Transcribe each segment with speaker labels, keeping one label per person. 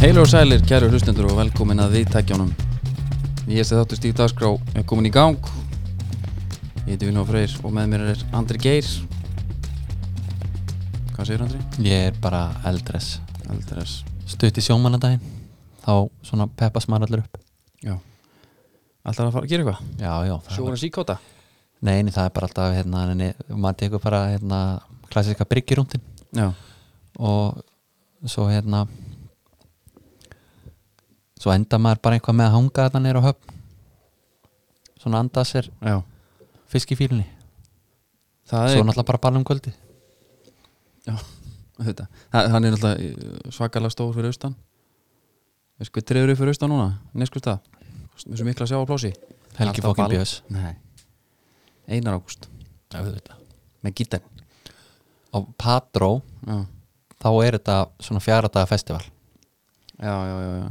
Speaker 1: Heilir og sælir, kæru hlustendur og velkomin að viðtækjánum Ég sé þáttu stíf dagskrá er komin í gang Ég heiti Viljóð Freyr og með mér er Andri Geir Hvað segir Andri?
Speaker 2: Ég er bara eldres
Speaker 1: Aldrei S
Speaker 2: Stutt í sjómanandaginn Þá svona peppast maður allir upp
Speaker 1: Já Alltaf að fara að gera eitthvað?
Speaker 2: Já, já það
Speaker 1: Sjóður
Speaker 2: var,
Speaker 1: að síkóta?
Speaker 2: Nei, nei, það er bara alltaf hérna, nei, Maður tekur bara hérna, klassiska bryggjurúndin
Speaker 1: Já
Speaker 2: Og svo hérna Svo enda maður bara eitthvað með að hanga þarna niður á höfn Svona anda að sér
Speaker 1: Já
Speaker 2: fiskifílunni
Speaker 1: Það
Speaker 2: Svo
Speaker 1: er
Speaker 2: náttúrulega bara balla um kvöldi
Speaker 1: Já, þetta Hann er náttúrulega eh, svakalega stór fyrir austan Veist hvað trefur upp fyrir austan núna? Neskust það? Þessu mikla sjá á plási
Speaker 2: Helgi
Speaker 1: Alltaf
Speaker 2: Fókin
Speaker 1: ball.
Speaker 2: Björs
Speaker 1: Nei Einar ágúst
Speaker 2: Já, við veit það
Speaker 1: Með gítarinn
Speaker 2: Og Patró,
Speaker 1: Já
Speaker 2: þá er þetta svona fjara daga festival
Speaker 1: já, já, já, já.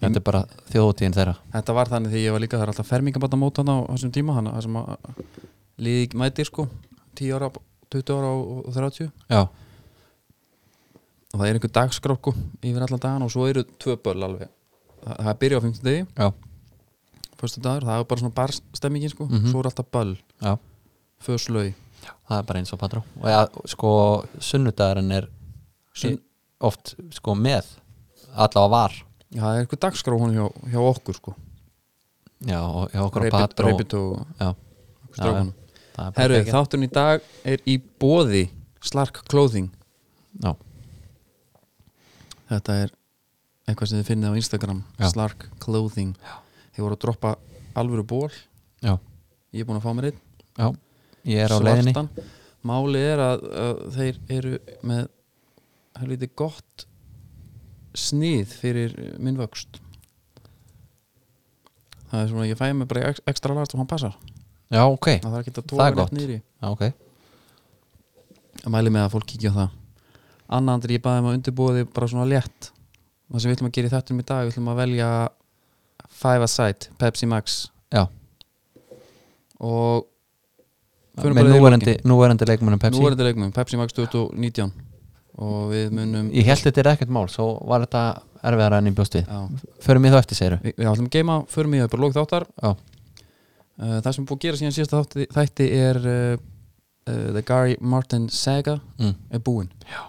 Speaker 2: Þetta er bara þjóðutíðin þeirra
Speaker 1: Þetta var þannig þegar ég var líka það er alltaf fermingabata móta hann á þessum tíma hann það sem að liði mætir sko 10 ára, 20 ára og og 30
Speaker 2: Já,
Speaker 1: og það er einhver dagskráku yfir allan dagan og svo eru tvö böll alveg það, það byrja á 15 degi,
Speaker 2: já,
Speaker 1: fyrstu dagur það er bara svona barstemmingin sko,
Speaker 2: Mhm.
Speaker 1: svo er alltaf böll
Speaker 2: já
Speaker 1: föðslöi,
Speaker 2: það er bara eins og patró og ja, sko sunnudagurinn er
Speaker 1: Sunn-
Speaker 2: í- oft sko með allavega var
Speaker 1: Já, það er einhver dagskrá hún hjá, hjá okkur sko
Speaker 2: já, og hjá okkur á
Speaker 1: Reipit-
Speaker 2: patró
Speaker 1: Reipit og
Speaker 2: já, já, já,
Speaker 1: strákunum
Speaker 2: það er bara
Speaker 1: Herru,
Speaker 2: geggjað.
Speaker 1: þátturinn í dag er í bóði Slark Clothing
Speaker 2: já,
Speaker 1: Þetta er eitthvað sem þið finnið á Instagram
Speaker 2: Já.
Speaker 1: Slark Clothing
Speaker 2: Já.
Speaker 1: Þið voru að droppa alvöru ból
Speaker 2: já,
Speaker 1: Ég er búin að fá mér einn
Speaker 2: já, ég er á leiðinni
Speaker 1: Málið er að uh, þeir eru með helviti gott snið fyrir uh, minn vöxt Það er svona, ég fæ mig bara í ex- extra last og hann passar
Speaker 2: já, ok,
Speaker 1: Það þarf ekki að
Speaker 2: Það
Speaker 1: tóka
Speaker 2: er gott.
Speaker 1: neitt nýri
Speaker 2: já, ok
Speaker 1: Að mæli með að fólk kíkja á það Anna Andri, ég baði um að undirbúa þig bara svona létt Það sem við ætlum að gera í þettum í dag Við ætlum að velja Five Aside, Pepsi Max
Speaker 2: já,
Speaker 1: og Förum
Speaker 2: með
Speaker 1: bara í
Speaker 2: núverandi, núverandi leikmennum Pepsi
Speaker 1: nú er þetta leikmum Pepsi Max 2019 og við munum
Speaker 2: ég held þetta er ekkert mál, svo var þetta erfiðara enn í bjóstið,
Speaker 1: já,
Speaker 2: förum við þá eftir segir
Speaker 1: við, við ætlum að geima, förum í það bara lók þáttar
Speaker 2: Já.
Speaker 1: Uh, það sem er búið að gera síðan síðasta þátti, þætti er uh, uh, The Gary Martin Saga
Speaker 2: mm.
Speaker 1: er búin já.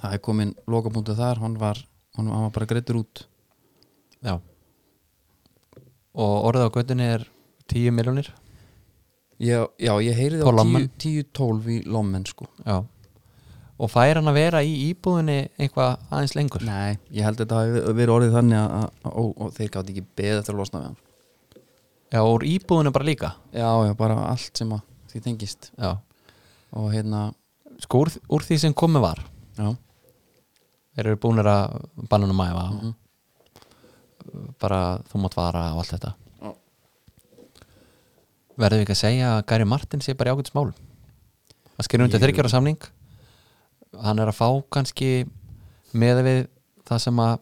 Speaker 1: það er komin lokapunktu þar, hann var, hann, hann var bara greittur út
Speaker 2: já og orðið á göttunni er 10 miljónir
Speaker 1: ég, já, ég heyrði á
Speaker 2: Paul Lommen.
Speaker 1: 10-12 í lommen sko
Speaker 2: Já Og fær hann að vera í íbúðinni eitthvað aðeins lengur?
Speaker 1: nei, ég held að þetta hafi verið orðið þannig að, að, að og, og þeir gátt ekki beðið eftir að losna við hann
Speaker 2: Já, úr íbúðinu bara líka
Speaker 1: já, já, bara allt sem að því tengist
Speaker 2: Já
Speaker 1: og hérna
Speaker 2: Sko, úr, úr því sem komið var
Speaker 1: já,
Speaker 2: Þeir eru búinir að bannunum mæfa mm
Speaker 1: Mhm.
Speaker 2: Bara þú mátt vara og allt þetta
Speaker 1: Já.
Speaker 2: Verðum við ekki að segja að Gary Martin sé bara í ágætis málum Að skilja undir
Speaker 1: Ég-
Speaker 2: þryggjara samning Hann er að fá kannski með við það sem að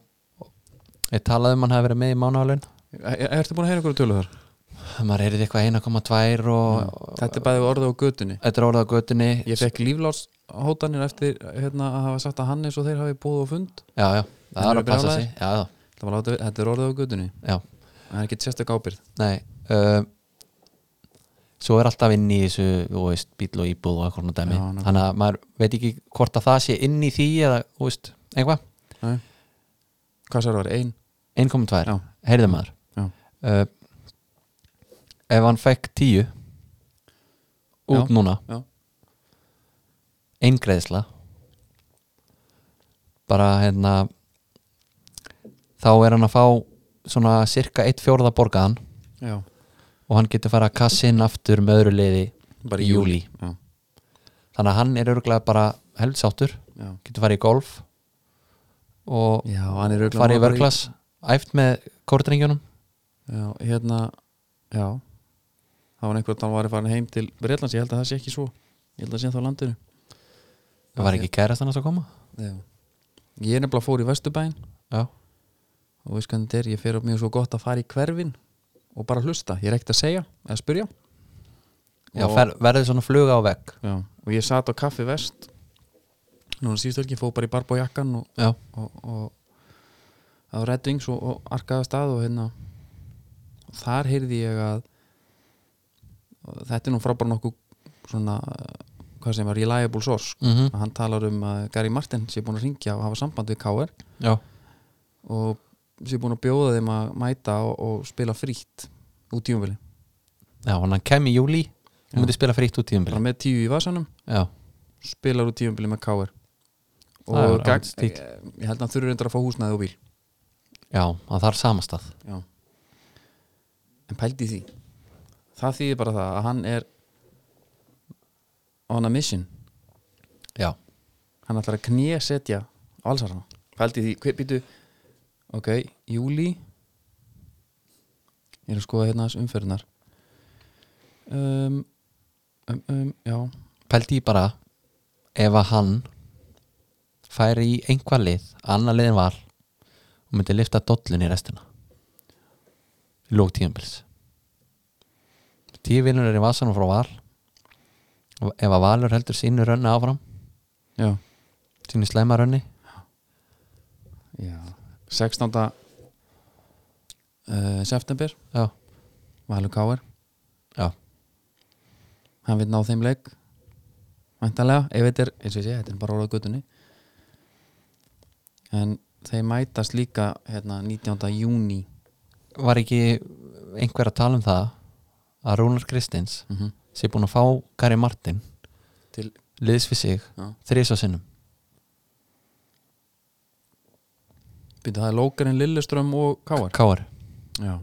Speaker 2: ég talaði um hann hafi verið með í mánaðalun
Speaker 1: er, er- ertu búin að heyra einhverju tölu þar?
Speaker 2: maður heyrði eitthvað 1,2 og
Speaker 1: Mm. þetta er bæðið orðið á götunni
Speaker 2: þetta er orðað á götunni
Speaker 1: ég fekk lífláts hótanir eftir hérna, að hafa sagt að Hannes og þeir hafi búið á fund
Speaker 2: já, já, það
Speaker 1: Þeir
Speaker 2: er
Speaker 1: eru
Speaker 2: að passa
Speaker 1: brjálaðir.
Speaker 2: sig já, já,
Speaker 1: Það var látið- þetta er orðið á götunni
Speaker 2: já,
Speaker 1: það er ekki sérstök ábyrð
Speaker 2: nei uh, svo er alltaf inn í þessu þú veist, bíl og íbúð og eitthvað svona dæmi
Speaker 1: Já, nákvæmlega.
Speaker 2: þannig að maður veit ekki hvort að það sé inn í því eða, þú veist, eitthvað
Speaker 1: Nei. hvað sér það var? ein?
Speaker 2: 1,2,
Speaker 1: Já.
Speaker 2: heyrði maður
Speaker 1: Já.
Speaker 2: Uh, ef hann fekk 10 út
Speaker 1: Já,
Speaker 2: núna
Speaker 1: já.
Speaker 2: eingreðsla bara hérna þá er hann að fá svona cirka 1 fjórða borgaðan
Speaker 1: já,
Speaker 2: og hann getur fara að kassa inn aftur með öðru liði
Speaker 1: bara
Speaker 2: í
Speaker 1: í júli
Speaker 2: júli
Speaker 1: já,
Speaker 2: þannig að hann er örgulega bara heldsáttur
Speaker 1: já.
Speaker 2: getur farið í golf og
Speaker 1: já, hann er örugglega
Speaker 2: farið í
Speaker 1: bara
Speaker 2: vörglas æft með kórdrengjunum
Speaker 1: já, hérna, já það var einhver að hann var að fara heim til Breitlands, ég held að það sé ekki svo ég held að það sé þá á landinu
Speaker 2: það var ekki kærast hann að koma
Speaker 1: já. ég er nefnilega fór í Vesturbæn
Speaker 2: já,
Speaker 1: og veist hvernig þetta er, ég fer upp mjög svo gott að fara í hverfin og bara hlusta, ég er ekkert að segja eða spyrja
Speaker 2: já
Speaker 1: Og-
Speaker 2: fer, verðið svona fluga á vegg
Speaker 1: já. og ég sat á kaffi vest núna síðust ekki, fóð bara í barba og jakkan og,
Speaker 2: já,
Speaker 1: og, og á Red Wings og, og arkaða stað og hérna og þar heyrði ég að og þetta er nú frábæra nokkuð svona, eh, hvað sem var reliable source,
Speaker 2: mm
Speaker 1: að hann talar um að Gary Martin sé búin að ringja og hafa samband við KR
Speaker 2: já,
Speaker 1: og sé búin að bjóða þeim að mæta og, og spila frítt út tíumvili,
Speaker 2: já, hann kem í júli
Speaker 1: Já.
Speaker 2: og myndi spila frítt út tíðum
Speaker 1: bara með tíu í vasanum
Speaker 2: já,
Speaker 1: spilar út tíumvili með KR
Speaker 2: Það
Speaker 1: og
Speaker 2: er
Speaker 1: gag,
Speaker 2: ágætis
Speaker 1: ég,
Speaker 2: stíll.
Speaker 1: ég held að hann þurfi reyndar að fá húsnaði og bíl
Speaker 2: já, hann þarf samastað
Speaker 1: Já. En pældi því Það þýðir bara það að hann er on a mission
Speaker 2: já,
Speaker 1: hann ætlar að knésetja allsarana Pældi því, hver býtu Ok, júli Ég er að skoða hérna aðeins umferðunar um, um, um, Já,
Speaker 2: pældi ég bara ef að hann færi í einhvað lið annar liðin var og myndi lifta dollun í restina í lók tíðumbils tíu vinnur er í vasanum frá val og ef að valur heldur sínu rönni áfram
Speaker 1: já,
Speaker 2: sínu slæma rönni
Speaker 1: já. 16. Uh, september
Speaker 2: já,
Speaker 1: Valur Káir
Speaker 2: já,
Speaker 1: hann vil ná þeim leik væntalega, ef þetta er eins og ég sé, þetta er bara orðað guttunni en þeir mætast líka hérna 19. júni
Speaker 2: var ekki einhver að tala um það að Rúnar Kristins sé búin að fá Gary Martin
Speaker 1: til,
Speaker 2: liðs við sig
Speaker 1: já,
Speaker 2: þrís á sinnum
Speaker 1: byrja það er Lókarinn Lilleström og Káar
Speaker 2: Káar
Speaker 1: já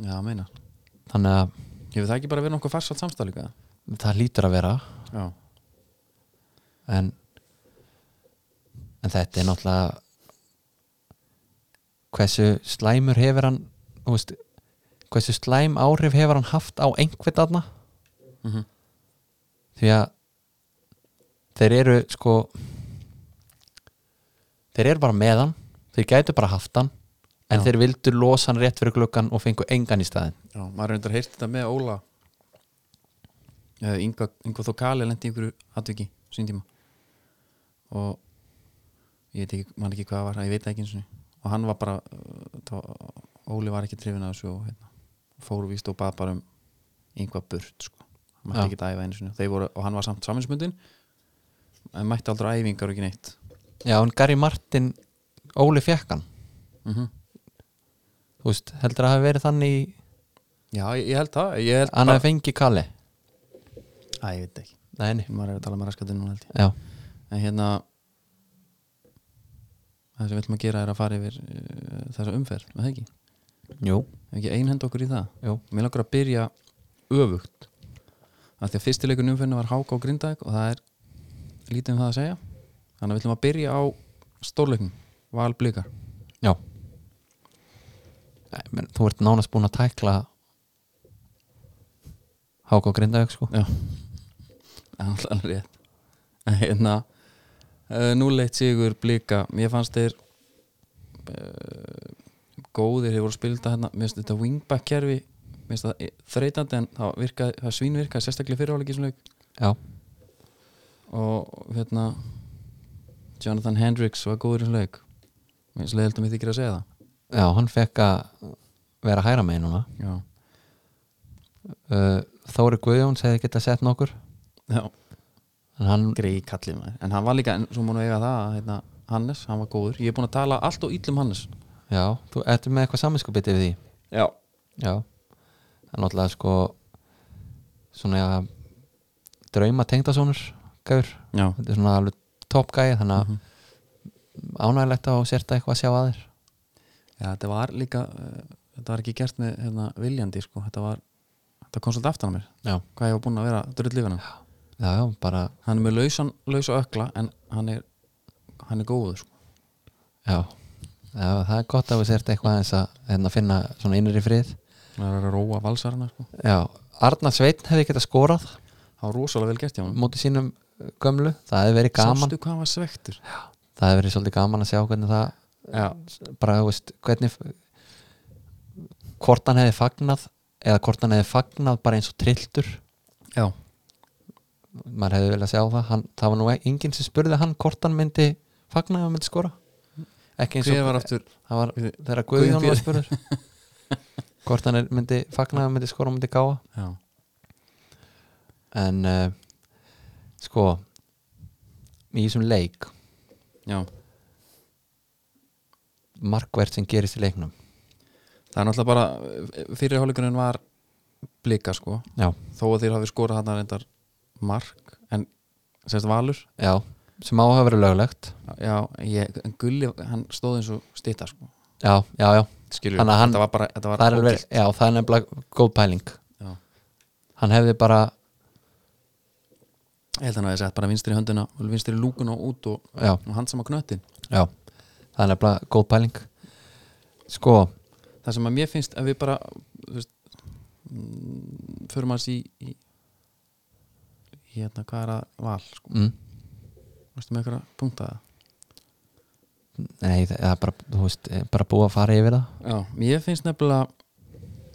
Speaker 1: já, meina,
Speaker 2: þannig að
Speaker 1: hefur það ekki bara verið nokkuð farsalt samstæð líka
Speaker 2: það lítur að vera
Speaker 1: já,
Speaker 2: en, en þetta er náttúrulega hversu slæmur hefur hann þú veist, hversu slæm áhrif hefur hann haft á einhvern þarna
Speaker 1: mm
Speaker 2: því að þeir eru sko þeir eru bara með hann þeir gætu bara haft hann
Speaker 1: Já.
Speaker 2: en þeir vildu losa hann rétt fyrir gluggan og fengu engan í staðin
Speaker 1: já maður reyndar heyrt þetta með Óla eða Inga, Inga þó Kali lendi í einhverju atviki sín tíma og ég veit ekki, man ekki hvað það var ég veit það ekki eins og og hann var bara uh, þá, Óli var ekki trefin að þessu og hérna, fór víst og bað bara um einhvað burt sko hann mætti
Speaker 2: Já.
Speaker 1: ekki að æfa einu sinni Þeir voru, og hann var samt saminsmundin en mætti aldrei á æfingar og ekki neitt
Speaker 2: já en Gary Martin Óli fekk hann
Speaker 1: mm
Speaker 2: þú veist heldur að hafa verið þannig í-
Speaker 1: já ég, ég held það ég held
Speaker 2: hann
Speaker 1: bara-
Speaker 2: hafi fengið Kalli
Speaker 1: Æ, ég veit ekki,
Speaker 2: nei nei
Speaker 1: maður er að tala með raskatinn núna held ég
Speaker 2: já
Speaker 1: en hérna það sem við ætlum að gera er að fara yfir uh, þessa umferð, er það ekki
Speaker 2: Jú,
Speaker 1: Ef ekki einhend okkur í það
Speaker 2: jú,
Speaker 1: mér langar að byrja öfugt af því að fyrstileikun umferðinu var Háka og Grindag og það er lítið um það að segja þannig að við ætlum að byrja á stórleiknum, val blikar
Speaker 2: já Nei, menn, Þú ert nánast búin að tækla Háka og Grindavík sko
Speaker 1: já, það er alltaf rétt En hérna uh, núleitt sigur blika mér fannst þeir uh, góðir, þeir voru að spilda hérna mér finnst þetta wingback kerfi mér finnst það þreytandi en það, virkaði, það svínvirkaði sérstaklega fyrirháleik í svona leik
Speaker 2: Já,
Speaker 1: og hérna Jonathan Hendricks var góður í svona leik mér finnst leiðilt að mér þykir að segja
Speaker 2: já hann fekk að vera hæra með núna
Speaker 1: það já,
Speaker 2: uh, Þóri Guðjóns hefði getað sett nokkur
Speaker 1: já.
Speaker 2: en hann,
Speaker 1: greið kallið maður, en hann var líka en svo múinu eiga það, að, hérna, Hannes, hann var góður ég er búin að tala allt og ítlum Hannes
Speaker 2: já, þú ertu með eitthvað saminskupið við því
Speaker 1: já,
Speaker 2: Já, það er náttúrulega sko svona drauma tengdasónur gaur,
Speaker 1: já.
Speaker 2: þetta er svona alveg toppgæði þannig
Speaker 1: Mhm.
Speaker 2: að ánægilegt að þú sérta eitthvað að sjá að þér
Speaker 1: Já, þetta var líka uh, þetta var ekki gert með hérna, viljandi sko. þetta var, þetta kom svolítið aftan á mér
Speaker 2: Já,
Speaker 1: hvað ég var búinn að vera drull lífina
Speaker 2: já, já bara
Speaker 1: hann er með lausan, lausa ökla en hann er, hann er góður sko.
Speaker 2: Já, já það er gott að við sért eitthvað eins að hérna, finna svona innri frið
Speaker 1: hann er að róa valsarana sko.
Speaker 2: Já, Arnar Sveitn hefði getað skorað
Speaker 1: það var rosalega vel gert hjá hann
Speaker 2: mótið sínum uh, gömlu, það hefði verið gaman
Speaker 1: Mm. sástu hvað hann var svektur
Speaker 2: það hefði verið svolítið gaman að sjá hvernig það
Speaker 1: já,
Speaker 2: bara, þú veist, hvernig hvort hann hefði fagnað eða hvort hann hefði fagnað bara eins og trilltur
Speaker 1: já,
Speaker 2: maður e- hefði viljað sjá það, hann, það var nú enginn sem spurði hann hvort hann myndi fagnað ef hann myndi skora ekki eins
Speaker 1: Hver
Speaker 2: og
Speaker 1: var aftur
Speaker 2: það var
Speaker 1: Guð-
Speaker 2: þegar
Speaker 1: Guðjón
Speaker 2: Guðjón var spurður hvort hann er, myndi fagna myndi skora, myndi gáa
Speaker 1: Já,
Speaker 2: en uh, sko í þessum leik
Speaker 1: já
Speaker 2: markvert sem gerist í leiknum
Speaker 1: Það er náttúrulega bara fyrirháleikurinn var blika sko
Speaker 2: já,
Speaker 1: þó að þeir hafi skorað hann reyndar mark en semst valur
Speaker 2: já sem á að hafa verið löglegt
Speaker 1: já, ég, en Gulli, hann stóð eins og stýta sko
Speaker 2: já, já, já,
Speaker 1: skilur,
Speaker 2: Þannig að hann-
Speaker 1: þetta var bara þetta var
Speaker 2: það er alveg
Speaker 1: ógilt.
Speaker 2: já, það er nefnilega góð pæling
Speaker 1: Já.
Speaker 2: hann hefði bara,
Speaker 1: ég held hann að það sett bara vinstri höndina vinstri lúkuna út og,
Speaker 2: já,
Speaker 1: og hand saman knöttin
Speaker 2: já það er nefnilega góð pæling sko,
Speaker 1: það sem að mér finnst að við bara þú veist, mm, förum hans í, í hérna hvað er að val sko,
Speaker 2: mm,
Speaker 1: veistu með einhverja punkta það
Speaker 2: nei, það það er bara þú veist, eh, bara búið að fara yfir það
Speaker 1: Já, ég finnst nefnilega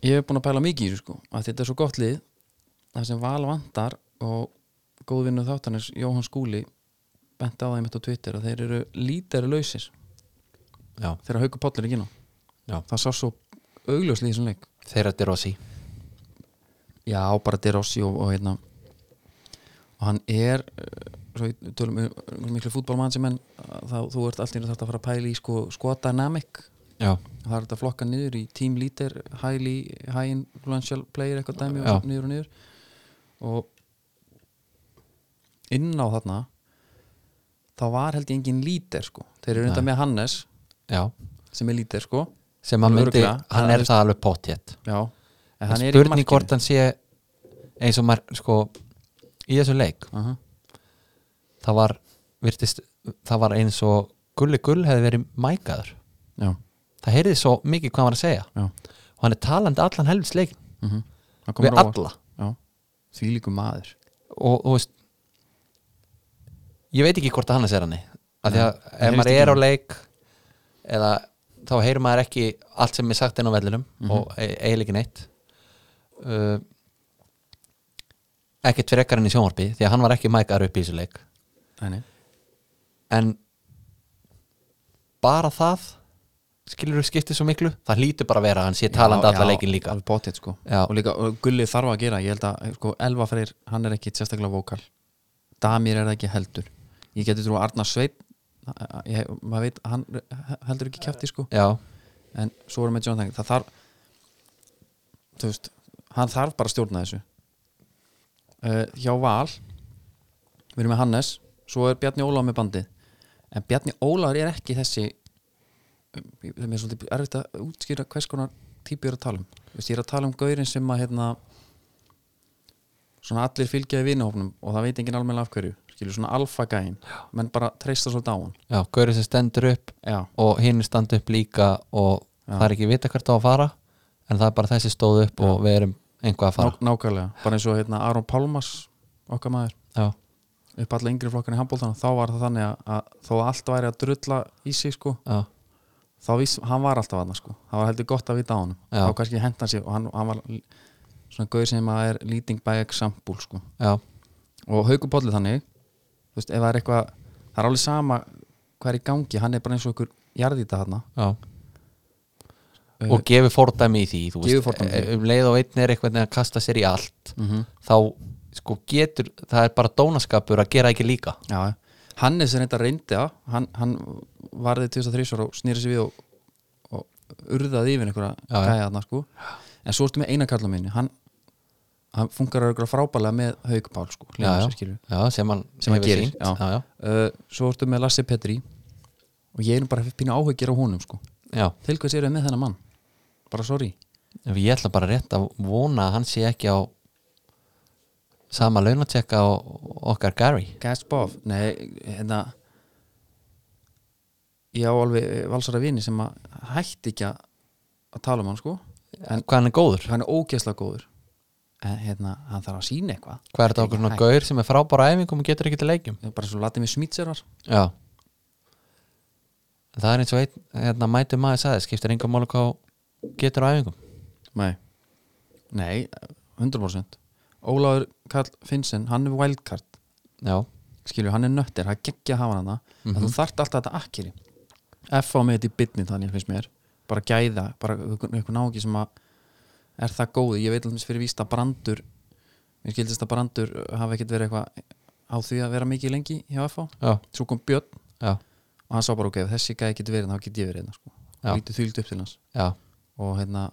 Speaker 1: ég hef búin að pæla mikið í þessu sko að þetta er svo gott lið það sem val vantar og góðvinnu þáttanins Jóhann Skúli benti á það einmitt á Twitter að þeir eru lítari lausir
Speaker 2: já,
Speaker 1: þegar hauku pollur ekki ná
Speaker 2: Já.
Speaker 1: það sá svo augljóslega í þessum leik
Speaker 2: þeirra Derossi
Speaker 1: Já, bara Derossi og, og hérna og hann er eh, svo í- tölum við um miklu fútbolmann sem en þá, þú ert allt í einu þarft að fara að pæla í sko, skotadynamic
Speaker 2: já,
Speaker 1: það er þetta flokka niður í team leader highly, high influential player eitthvað dæmi
Speaker 2: Já.
Speaker 1: og niður og niður og inn á þarna þá var held ég engin lítir sko þeir eru reynda
Speaker 2: Nei.
Speaker 1: með Hannes
Speaker 2: já
Speaker 1: sem er lítir sko
Speaker 2: sem að myndi,
Speaker 1: Örugglega.
Speaker 2: hann
Speaker 1: Það
Speaker 2: er
Speaker 1: er-
Speaker 2: það alveg potjett
Speaker 1: já, en hann er í
Speaker 2: spurning hvort
Speaker 1: markinu
Speaker 2: hann sé eins og maður sko í þessum leik
Speaker 1: uh
Speaker 2: það var, virtist, það var eins og gulli gull hefði verið mækaður
Speaker 1: já,
Speaker 2: það heyrði svo mikið hvað hann var að segja
Speaker 1: já
Speaker 2: og hann er talandi allan helvits leik
Speaker 1: uh -huh.
Speaker 2: við alla
Speaker 1: já. því líku maður
Speaker 2: og þú veist ég veit ekki hvort að hann er sér hann af því að
Speaker 1: það
Speaker 2: ef
Speaker 1: heyrist
Speaker 2: maður
Speaker 1: ekki
Speaker 2: er á
Speaker 1: hann.
Speaker 2: leik eða þá heyrir maður ekki allt sem er sagt inn á vellinum
Speaker 1: Mhm.
Speaker 2: og e- eiginlega ekki neitt uh, ekkert fyrir ekkar enn í sjónvarpi því að hann var ekki mækar upp í þessu leik
Speaker 1: Æni.
Speaker 2: en bara það skilur þú skiptið svo miklu það hlýtur bara að vera að hann sé talandi um alla leikin líka
Speaker 1: alveg bótið sko
Speaker 2: Já.
Speaker 1: og líka og Gulli þarf að gera ég held að sko, Elva Freyr hann er ekki sérstaklega vókal Damir er það ekki heldur ég geti trú að Arnar Sveit ég, maður veit hann heldur ekki kjæfti sko
Speaker 2: já,
Speaker 1: en svo erum við Jonathan það þarf þú veist hann þarf bara að stjórna þessu uh, hjá Val við erum með Hannes svo er Bjarni Ólaf með bandið en Bjarni Ólafur er ekki þessi um, ég- það er mér svolítið erfitt að útskýra hvers konar típu ég er að tala um Þú veist, ég er að tala um gaurin sem að hérna, svona allir fylgja í vinahófnum og það veit enginn almenna af hverju skilur svona alfagæin menn bara treysta svolítið á hann
Speaker 2: já, Gaurið sem stendur upp
Speaker 1: já,
Speaker 2: og hinn standa upp líka og
Speaker 1: Já.
Speaker 2: það er ekki vita hvert á að fara en það er bara þessi stóð upp og við erum einhvað að fara
Speaker 1: Ná, nákvæmlega, bara eins og hérna Aron Pálmas okkar maður,
Speaker 2: já,
Speaker 1: upp alla yngri flokkan í handbóltan þá var það þannig að, að þó að allt væri að drulla í sig sko,
Speaker 2: já,
Speaker 1: þá viss, hann var alltaf aðna sko, það var heldur gott að vita á honum
Speaker 2: Já.
Speaker 1: þá kannski hent hann sér og hann, hann var l- svona gauð sem að er leading by example sko,
Speaker 2: já,
Speaker 1: og haugupolli þannig þú veist, ef það er eitthvað það er alveg sama hvað er í gangi hann er bara eins og ykkur jarðýta þarna
Speaker 2: já.
Speaker 1: Eh,
Speaker 2: og gefur fordæmi í því þú
Speaker 1: Gefur
Speaker 2: veist,
Speaker 1: fordæmi í því.
Speaker 2: um leið og einn er eitthvað að kasta sér í allt
Speaker 1: mm
Speaker 2: þá sko getur, það er bara dónaskapur að gera ekki líka
Speaker 1: Já, Hannes er reynda reyndi á hann, hann varði 2003 ára og snýri sér við og, og urðaði yfir einhverja
Speaker 2: Já, já.
Speaker 1: gæja þarna sko en svo ertu með eina kallar minni hann, hann funkar auðvitað frábælega með haugpál sko,
Speaker 2: já,
Speaker 1: Hlynur
Speaker 2: já,
Speaker 1: sér, skilur.
Speaker 2: já, sem hann,
Speaker 1: Sem hann
Speaker 2: hefur
Speaker 1: gerir,
Speaker 2: sýnt.
Speaker 1: já.
Speaker 2: Já, já.
Speaker 1: uh, svo ertu með Lasse Petri og ég er nú bara að pína áhugir á honum sko.
Speaker 2: Já,
Speaker 1: til hvers eru með þennan mann bara sorry
Speaker 2: ef ég ætla bara rétt að vona að hann sé ekki á sama launatjekka og okkar Gary
Speaker 1: Gaspov, nei, hérna ég á alveg valsara vini sem að hætti ekki að að tala um hann sko
Speaker 2: en, hvað hann er góður
Speaker 1: hann er ógeðslega góður en hérna, hann þarf að sína eitthvað
Speaker 2: hvað er þetta okkur svona gaur sem er frábæra æfingum og getur ekki til leikjum
Speaker 1: Ég er bara svo latið mér smýtser var
Speaker 2: já það er eins og einn hérna, mætu maður sagði, skiptir enga máli hvað þú getur á æfingum
Speaker 1: nei, nei 100% Ólafur Karl Finnsen, hann er wildcard
Speaker 2: já,
Speaker 1: skilju, hann er nöttir, það er geggja að hafa hann mm
Speaker 2: Mhm.
Speaker 1: þú þarft alltaf þetta akkiri F á með þetta í bytni þannig finnst mér bara gæða, bara einhver einhver náungi sem að er það góði, ég veit alveg fyrir víst að brandur mér skildist að brandur hafi ekkert verið eitthvað á því að vera mikið lengi hjá F á,
Speaker 2: já,
Speaker 1: svo kom Björn
Speaker 2: já,
Speaker 1: og hann sá bara ok, ef þessi gæði getur verið þá get ég verið hérna sko,
Speaker 2: Já.
Speaker 1: og lítið þýld upp til hans
Speaker 2: já,
Speaker 1: og hérna,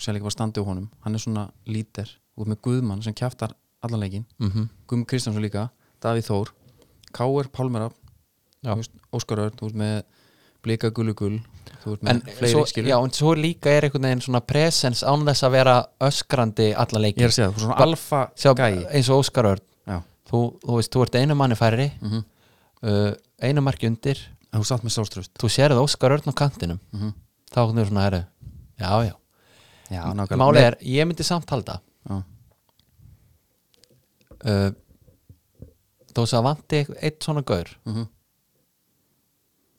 Speaker 1: sér líka bara standi á honum hann er svona líter, út með Guðmann sem kjaftar allan leikin
Speaker 2: mhm
Speaker 1: Guðmund Kristjánsson líka, Davíð Þór K.R. Pálmera
Speaker 2: Já.
Speaker 1: Óskar Örn, þú veist með Blika Gullugull, þú veist með
Speaker 2: en
Speaker 1: fleiri
Speaker 2: svo,
Speaker 1: skilur
Speaker 2: já, en svo líka er einhvern veginn svona presens án þess að vera öskrandi alla
Speaker 1: ég
Speaker 2: leiki
Speaker 1: er að segja það, þú ert svona
Speaker 2: Ba-
Speaker 1: alfa
Speaker 2: Sjá,
Speaker 1: gæi
Speaker 2: eins og Óskar Örn
Speaker 1: já,
Speaker 2: þú, þú veist, þú ert einu manni færri
Speaker 1: mm -hmm.
Speaker 2: uh, einu marki undir
Speaker 1: þú satt með sjálfströst
Speaker 2: þú sérð Óskar Örn á kantinum
Speaker 1: mm -hmm.
Speaker 2: þá er svona herri, já, já,
Speaker 1: já,
Speaker 2: máli er ég myndi samt halda
Speaker 1: já,
Speaker 2: uh, þó þess að vanti eit- einn svona gaur
Speaker 1: mm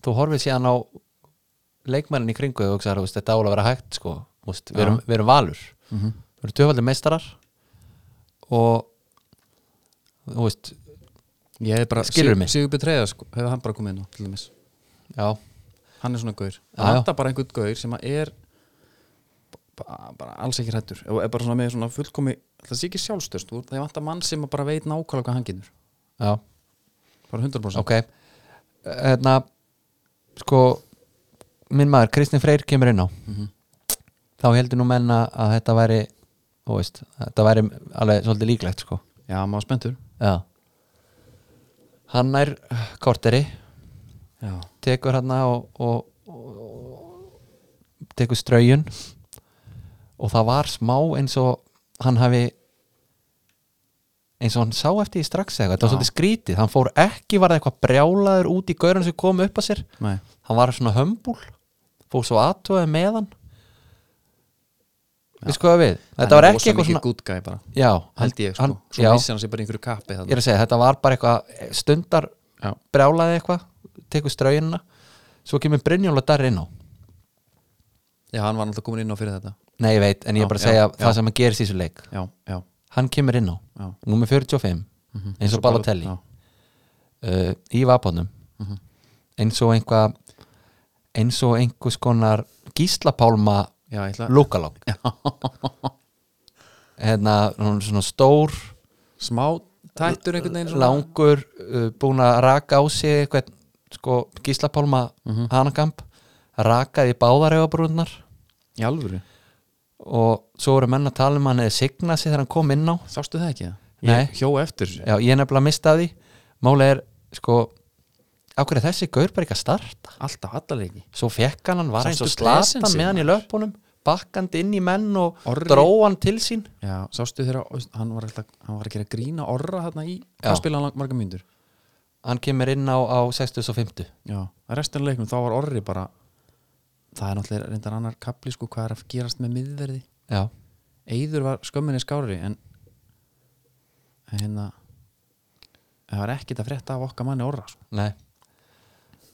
Speaker 2: þú horfið síðan á leikmannin í kringu og hugsaðar, þú veist, þetta ála að vera hægt sko, Þú veist, við,
Speaker 1: Já.
Speaker 2: erum, við erum valur
Speaker 1: -hmm.
Speaker 2: Þú eru tvöfaldir meistarar og þú veist,
Speaker 1: ég hef bara
Speaker 2: Skilurðu mig?
Speaker 1: Sigur Betreða, sko, hefur hann bara komið inn á til dæmis,
Speaker 2: já,
Speaker 1: hann er svona gaur
Speaker 2: Já, já.
Speaker 1: það vantar bara einhvern gaur sem að er ba- bara alls ekki hrættur og er bara svona með svona fullkomi það sé ekki sjálfströst, það vantar mann sem að bara veit nákvæmlega hvað hann getur,
Speaker 2: já,
Speaker 1: bara 100%
Speaker 2: ok hérna sko, minn maður Kristinn Freyr kemur inn á
Speaker 1: Mhm.
Speaker 2: þá heldur nú menna að þetta væri þú veist, þetta væri alveg svolítið líklegt sko,
Speaker 1: já, maður var spenntur
Speaker 2: já hann er korteri
Speaker 1: já,
Speaker 2: tekur hann og, og, og, og tekur strögin og það var smá eins og hann hafi eins og hann sá eftir því strax eða eitthvað, þetta var
Speaker 1: Já.
Speaker 2: svolítið skrítið, hann fór ekki var það eitthvað brjálaður út í gaurun sem kom upp að sér
Speaker 1: nei,
Speaker 2: hann var svona hömbúl fór svo aðtöði með hann við skoða við þetta var ekki eitthvað svona
Speaker 1: gútt gæði bara,
Speaker 2: já,
Speaker 1: held ég sko
Speaker 2: hann,
Speaker 1: svo
Speaker 2: já,
Speaker 1: vissi hann sér bara í einhverju kappi
Speaker 2: ég er að segja, þetta var bara eitthvað stundar
Speaker 1: Já.
Speaker 2: brjálaði eitthvað tekur ströginna svo kemur Brynjóla Darri inn á
Speaker 1: já, hann var náttúrulega komin inn á fyrir þetta
Speaker 2: nei, ég veit, en ég er
Speaker 1: Já,
Speaker 2: bara að
Speaker 1: já,
Speaker 2: segja
Speaker 1: já.
Speaker 2: það sem hann gerir þessu leik
Speaker 1: já, já,
Speaker 2: hann kemur inn á,
Speaker 1: já
Speaker 2: nummer 45
Speaker 1: Mhm.
Speaker 2: eins og Balotelli
Speaker 1: já,
Speaker 2: uh, í vapónum
Speaker 1: Mhm.
Speaker 2: eins og einhvað eins og einhvers konar gíslapálma
Speaker 1: já, ég ætla
Speaker 2: lúkalóng hérna, hún er svona stór
Speaker 1: smá tættur einhvern veginn svona.
Speaker 2: langur, uh, búin að raka á sig eitthvað, sko, gíslapálma
Speaker 1: Mhm.
Speaker 2: hanakamp rakaði í báðar efabrúnar
Speaker 1: í alvöru,
Speaker 2: og svo voru menn að tala um að hann eða signað sig þegar hann kom inn á
Speaker 1: sástu það ekki það?
Speaker 2: Nei.
Speaker 1: ég hjó eftir þessu.
Speaker 2: Já, ég er nefnilega mistaði Máli er, sko á hverju er þessi gaur bara ekki að starta
Speaker 1: alltaf allalegi
Speaker 2: Svo fekk hann, hann var
Speaker 1: Samt
Speaker 2: eins og
Speaker 1: svo klesen
Speaker 2: slatan
Speaker 1: sig,
Speaker 2: með hann í löpunum bakkandi inn í menn og
Speaker 1: Orri.
Speaker 2: dró hann til sín
Speaker 1: já, sástu þegar hann var, alltaf, hann var að gera grína orra þarna í
Speaker 2: Já.
Speaker 1: hvað spila hann lang- marga myndur
Speaker 2: Hann kemur inn á, á 65
Speaker 1: já, restan leiknum þá var orri bara það er náttúrulega reyndar annar kapli sko hvað er að gerast með miðverði
Speaker 2: Já,
Speaker 1: Eður var skömminni skári en en hérna það var ekkit að frétta af okkar manni orra sko.
Speaker 2: nei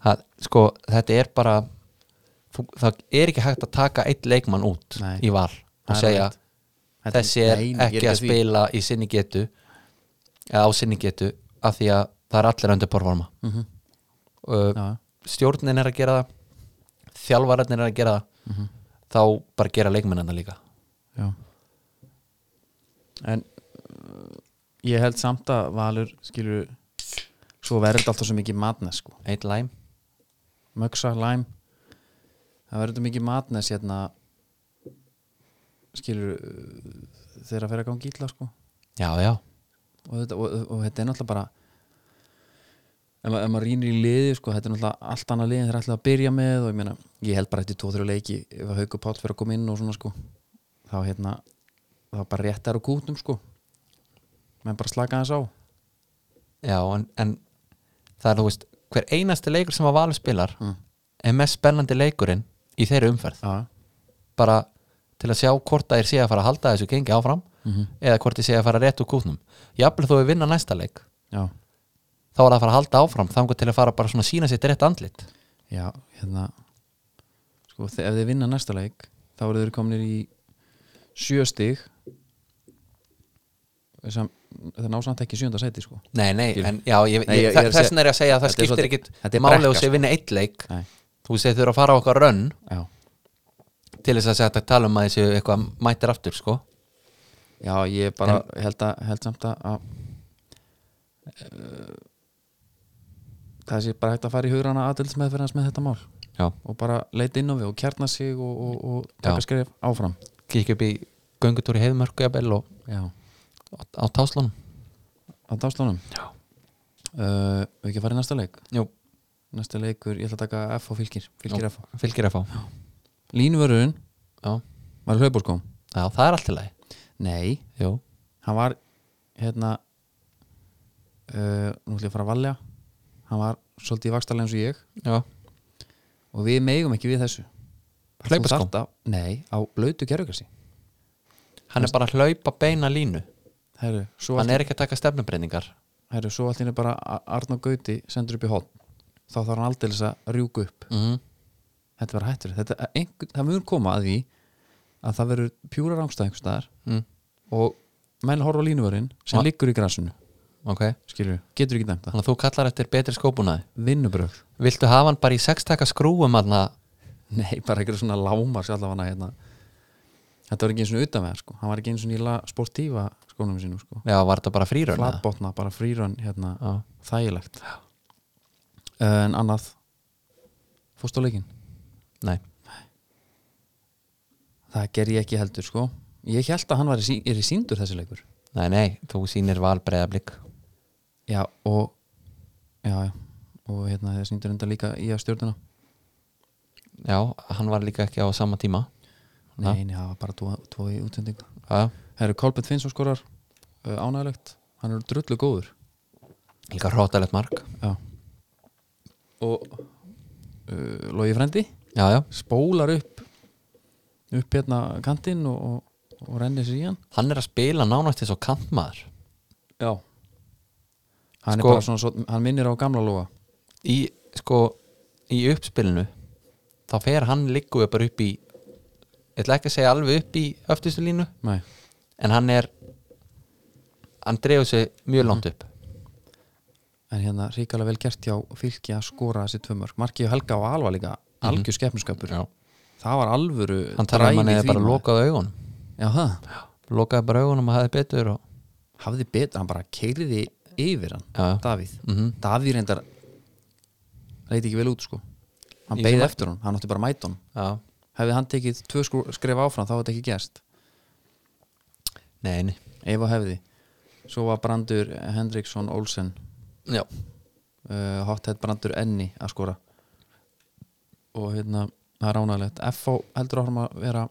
Speaker 2: það, Sko, þetta er bara þú, það er ekki hægt að taka eitt leikmann út
Speaker 1: Nei.
Speaker 2: í val og
Speaker 1: Það er
Speaker 2: segja
Speaker 1: rétt. Þetta-
Speaker 2: þessi er
Speaker 1: Nei, nei, ég
Speaker 2: ekki að
Speaker 1: því.
Speaker 2: spila í sinni getu eða á sinni getu af því að það er allir öndur porforma
Speaker 1: Mhm.
Speaker 2: uh,
Speaker 1: Já,
Speaker 2: stjórnin er að gera það þjálfararnir er að gera það þá bara gera leikmennina líka
Speaker 1: já. en uh, ég held samt að Valur skilur svo verður þetta alltaf svo mikið matnes sko.
Speaker 2: eitt læm
Speaker 1: Möksa, Læm það verður þetta mikið matnes hérna skilur uh, þegar að fer að gangi illa sko.
Speaker 2: já, já,
Speaker 1: og þetta, og, og þetta er náttúrulega bara ef, ma- ef maður rýnir í liði sko, þetta er náttúrulega allt annað liðin þeir ætlaði að byrja með og ég meina, ég held bara eftir 2-3 leiki ef að Hauku Páll fyrir að koma inn og svona sko þá hérna, þá bara réttar á kútnum sko menn bara slaka hans á
Speaker 2: já en, en það er þú veist hver einasti leikur sem að Valur spilar
Speaker 1: Mm.
Speaker 2: er mest spennandi leikurinn í þeirri umferð
Speaker 1: Já,
Speaker 2: bara til að sjá hvort að þeir sé að fara að halda þessu gengi áfram
Speaker 1: Mhm.
Speaker 2: eða hvort þeir sé að fara rétt úr kútnum jafnvel þó við vinna næsta leik
Speaker 1: já,
Speaker 2: þá er það að fara að halda áfram þangur til að fara bara svona að sína sitt rétt andlit
Speaker 1: já, hérna sko, þe- ef þið vinna næsta leik þá eru þeir komnir í sjö stig sem, það ná samt ekki sjönda sæti sko
Speaker 2: Nei, nei,
Speaker 1: Skil.
Speaker 2: en já, ég,
Speaker 1: Nei,
Speaker 2: ég,
Speaker 1: ég- ég er að
Speaker 2: þess
Speaker 1: segja-
Speaker 2: vegna er ég að segja að það
Speaker 1: Þetta er
Speaker 2: skiptir
Speaker 1: svolítið-
Speaker 2: ekkit
Speaker 1: þetta er
Speaker 2: máli
Speaker 1: brekka,
Speaker 2: og sé vinna eitt leik
Speaker 1: Nei.
Speaker 2: þú segir þau eru að fara á okkar rönn
Speaker 1: já,
Speaker 2: til þess að setja að tala um að þessu eitthvað mættir aftur sko
Speaker 1: já ég bara held, að, held samt að, að uh, það sé bara hægt að fara í hugrana aðdelsmeðferðans með þetta mál
Speaker 2: já,
Speaker 1: og bara leita inn á við og kjarna sig og, og, og
Speaker 2: Já.
Speaker 1: taka skref áfram
Speaker 2: kíkja upp í göngutúr í heiðmörku jafnvel og
Speaker 1: já,
Speaker 2: á, á táslunum
Speaker 1: á dáslunum
Speaker 2: Já.
Speaker 1: uh, við ekki að fara í næsta leik
Speaker 2: Jú.
Speaker 1: næsta leikur, ég ætla að taka F og fylgir fylgir F
Speaker 2: fylgir að fá já.
Speaker 1: línvörun
Speaker 2: Já.
Speaker 1: var hlaupurskóm
Speaker 2: það er allt í lagi
Speaker 1: nei,
Speaker 2: Jú.
Speaker 1: hann var hérna uh, nú ætlum ég að fara að valja hann var svolítið vakstarlega eins og ég
Speaker 2: já,
Speaker 1: og við megum ekki við þessu Þú
Speaker 2: Hlaupaskóm?
Speaker 1: þarft að- Nei, á blötu gerðugrassi
Speaker 2: hann er bara að hlaupa beina línu
Speaker 1: Herru, svo
Speaker 2: hann
Speaker 1: allt,
Speaker 2: er ekki að taka stefnubreiningar
Speaker 1: herru, svo allt inni bara A- Arnór Gauti sendur upp í hóln þá þarf hann aldeilis að rjúka upp
Speaker 2: mm -hmm.
Speaker 1: þetta verður hættur, þetta, einhver, það mun koma að því að það verður pjúra rángstæð einhvers staðar
Speaker 2: Mm.
Speaker 1: og menn horfa á línuvörinn sem
Speaker 2: Ma-
Speaker 1: liggur í grassinu
Speaker 2: ok,
Speaker 1: skilur, getur ekki nefnt það
Speaker 2: þannig að þú kallar eftir betri skópunaði
Speaker 1: vinnubrögg,
Speaker 2: viltu hafa hann bara í sextaka skrúum aðna
Speaker 1: nei, bara eitthvað svona lámar sjálfana hérna þetta var ekki eins og utan með, sko, hann var ekki eins og nýla sportífa skónum sínum, sko
Speaker 2: já, var þetta bara frírun eða?
Speaker 1: flatbotna, bara frýrun, hérna
Speaker 2: já,
Speaker 1: þægilegt en annað fórst á leikinn
Speaker 2: nei,
Speaker 1: það ger ég ekki heldur sko ég held að hann var í, sí- er í síndur þessi leikur
Speaker 2: nei, nei þú sýnir valbreiðablík
Speaker 1: já og já, já, og hérna þeir síndur enda líka í að stjórnuna
Speaker 2: já, hann var líka ekki á sama tíma Ha?
Speaker 1: nei, nei, það var bara tvo, tvo í útsendingu
Speaker 2: já,
Speaker 1: það eru Kolbett Finnsson skorar uh, ánægilegt, hann er drullu góður
Speaker 2: líka hrótalegt mark
Speaker 1: já og uh, Logi Frendi
Speaker 2: já, já,
Speaker 1: spólar upp upp hérna kantinn og, og, og rennir sér í hann
Speaker 2: hann er að spila nánast eins og kantmaður
Speaker 1: Já Hann
Speaker 2: Sko-
Speaker 1: er bara svona, svo, hann minnir á gamla lóa
Speaker 2: í, sko, í uppspilinu þá fer hann líku bara upp í ég ætla ekki að segja alveg upp í öftustu línu
Speaker 1: Nei,
Speaker 2: en hann er hann dreifur sig mjög
Speaker 1: Mhm.
Speaker 2: langt upp
Speaker 1: en hérna ríkalega vel gert hjá fylki að skora þessi tvö mörg Markið og Helga og Alva líka, algjör skepnuskapur
Speaker 2: Mhm. Já.
Speaker 1: Það var alvöru
Speaker 2: hann talar um
Speaker 1: dræn
Speaker 2: hann
Speaker 1: í
Speaker 2: eða
Speaker 1: því,
Speaker 2: bara
Speaker 1: maður.
Speaker 2: lokaði augunum
Speaker 1: Já, það,
Speaker 2: lokaði bara augunum og hafði betur og,
Speaker 1: hafði betur, hann bara keiriði yfir hann,
Speaker 2: Já, já.
Speaker 1: Davíð
Speaker 2: Mhm.
Speaker 1: Davíð reyndar leit ekki vel út sko Hann
Speaker 2: Í
Speaker 1: beigði
Speaker 2: svona-
Speaker 1: eftir hann, hann átti bara að mæta hann
Speaker 2: já,
Speaker 1: Hefði hann tekið tvö skrú- skref áfram þá var þetta ekki gerst
Speaker 2: nei, nei
Speaker 1: Ef að hefði Svo var Brandur Hendriksson Olsen
Speaker 2: já,
Speaker 1: uh, hothead brandur enni að skora og hérna það er ránalegt F.O. heldur áfram að vera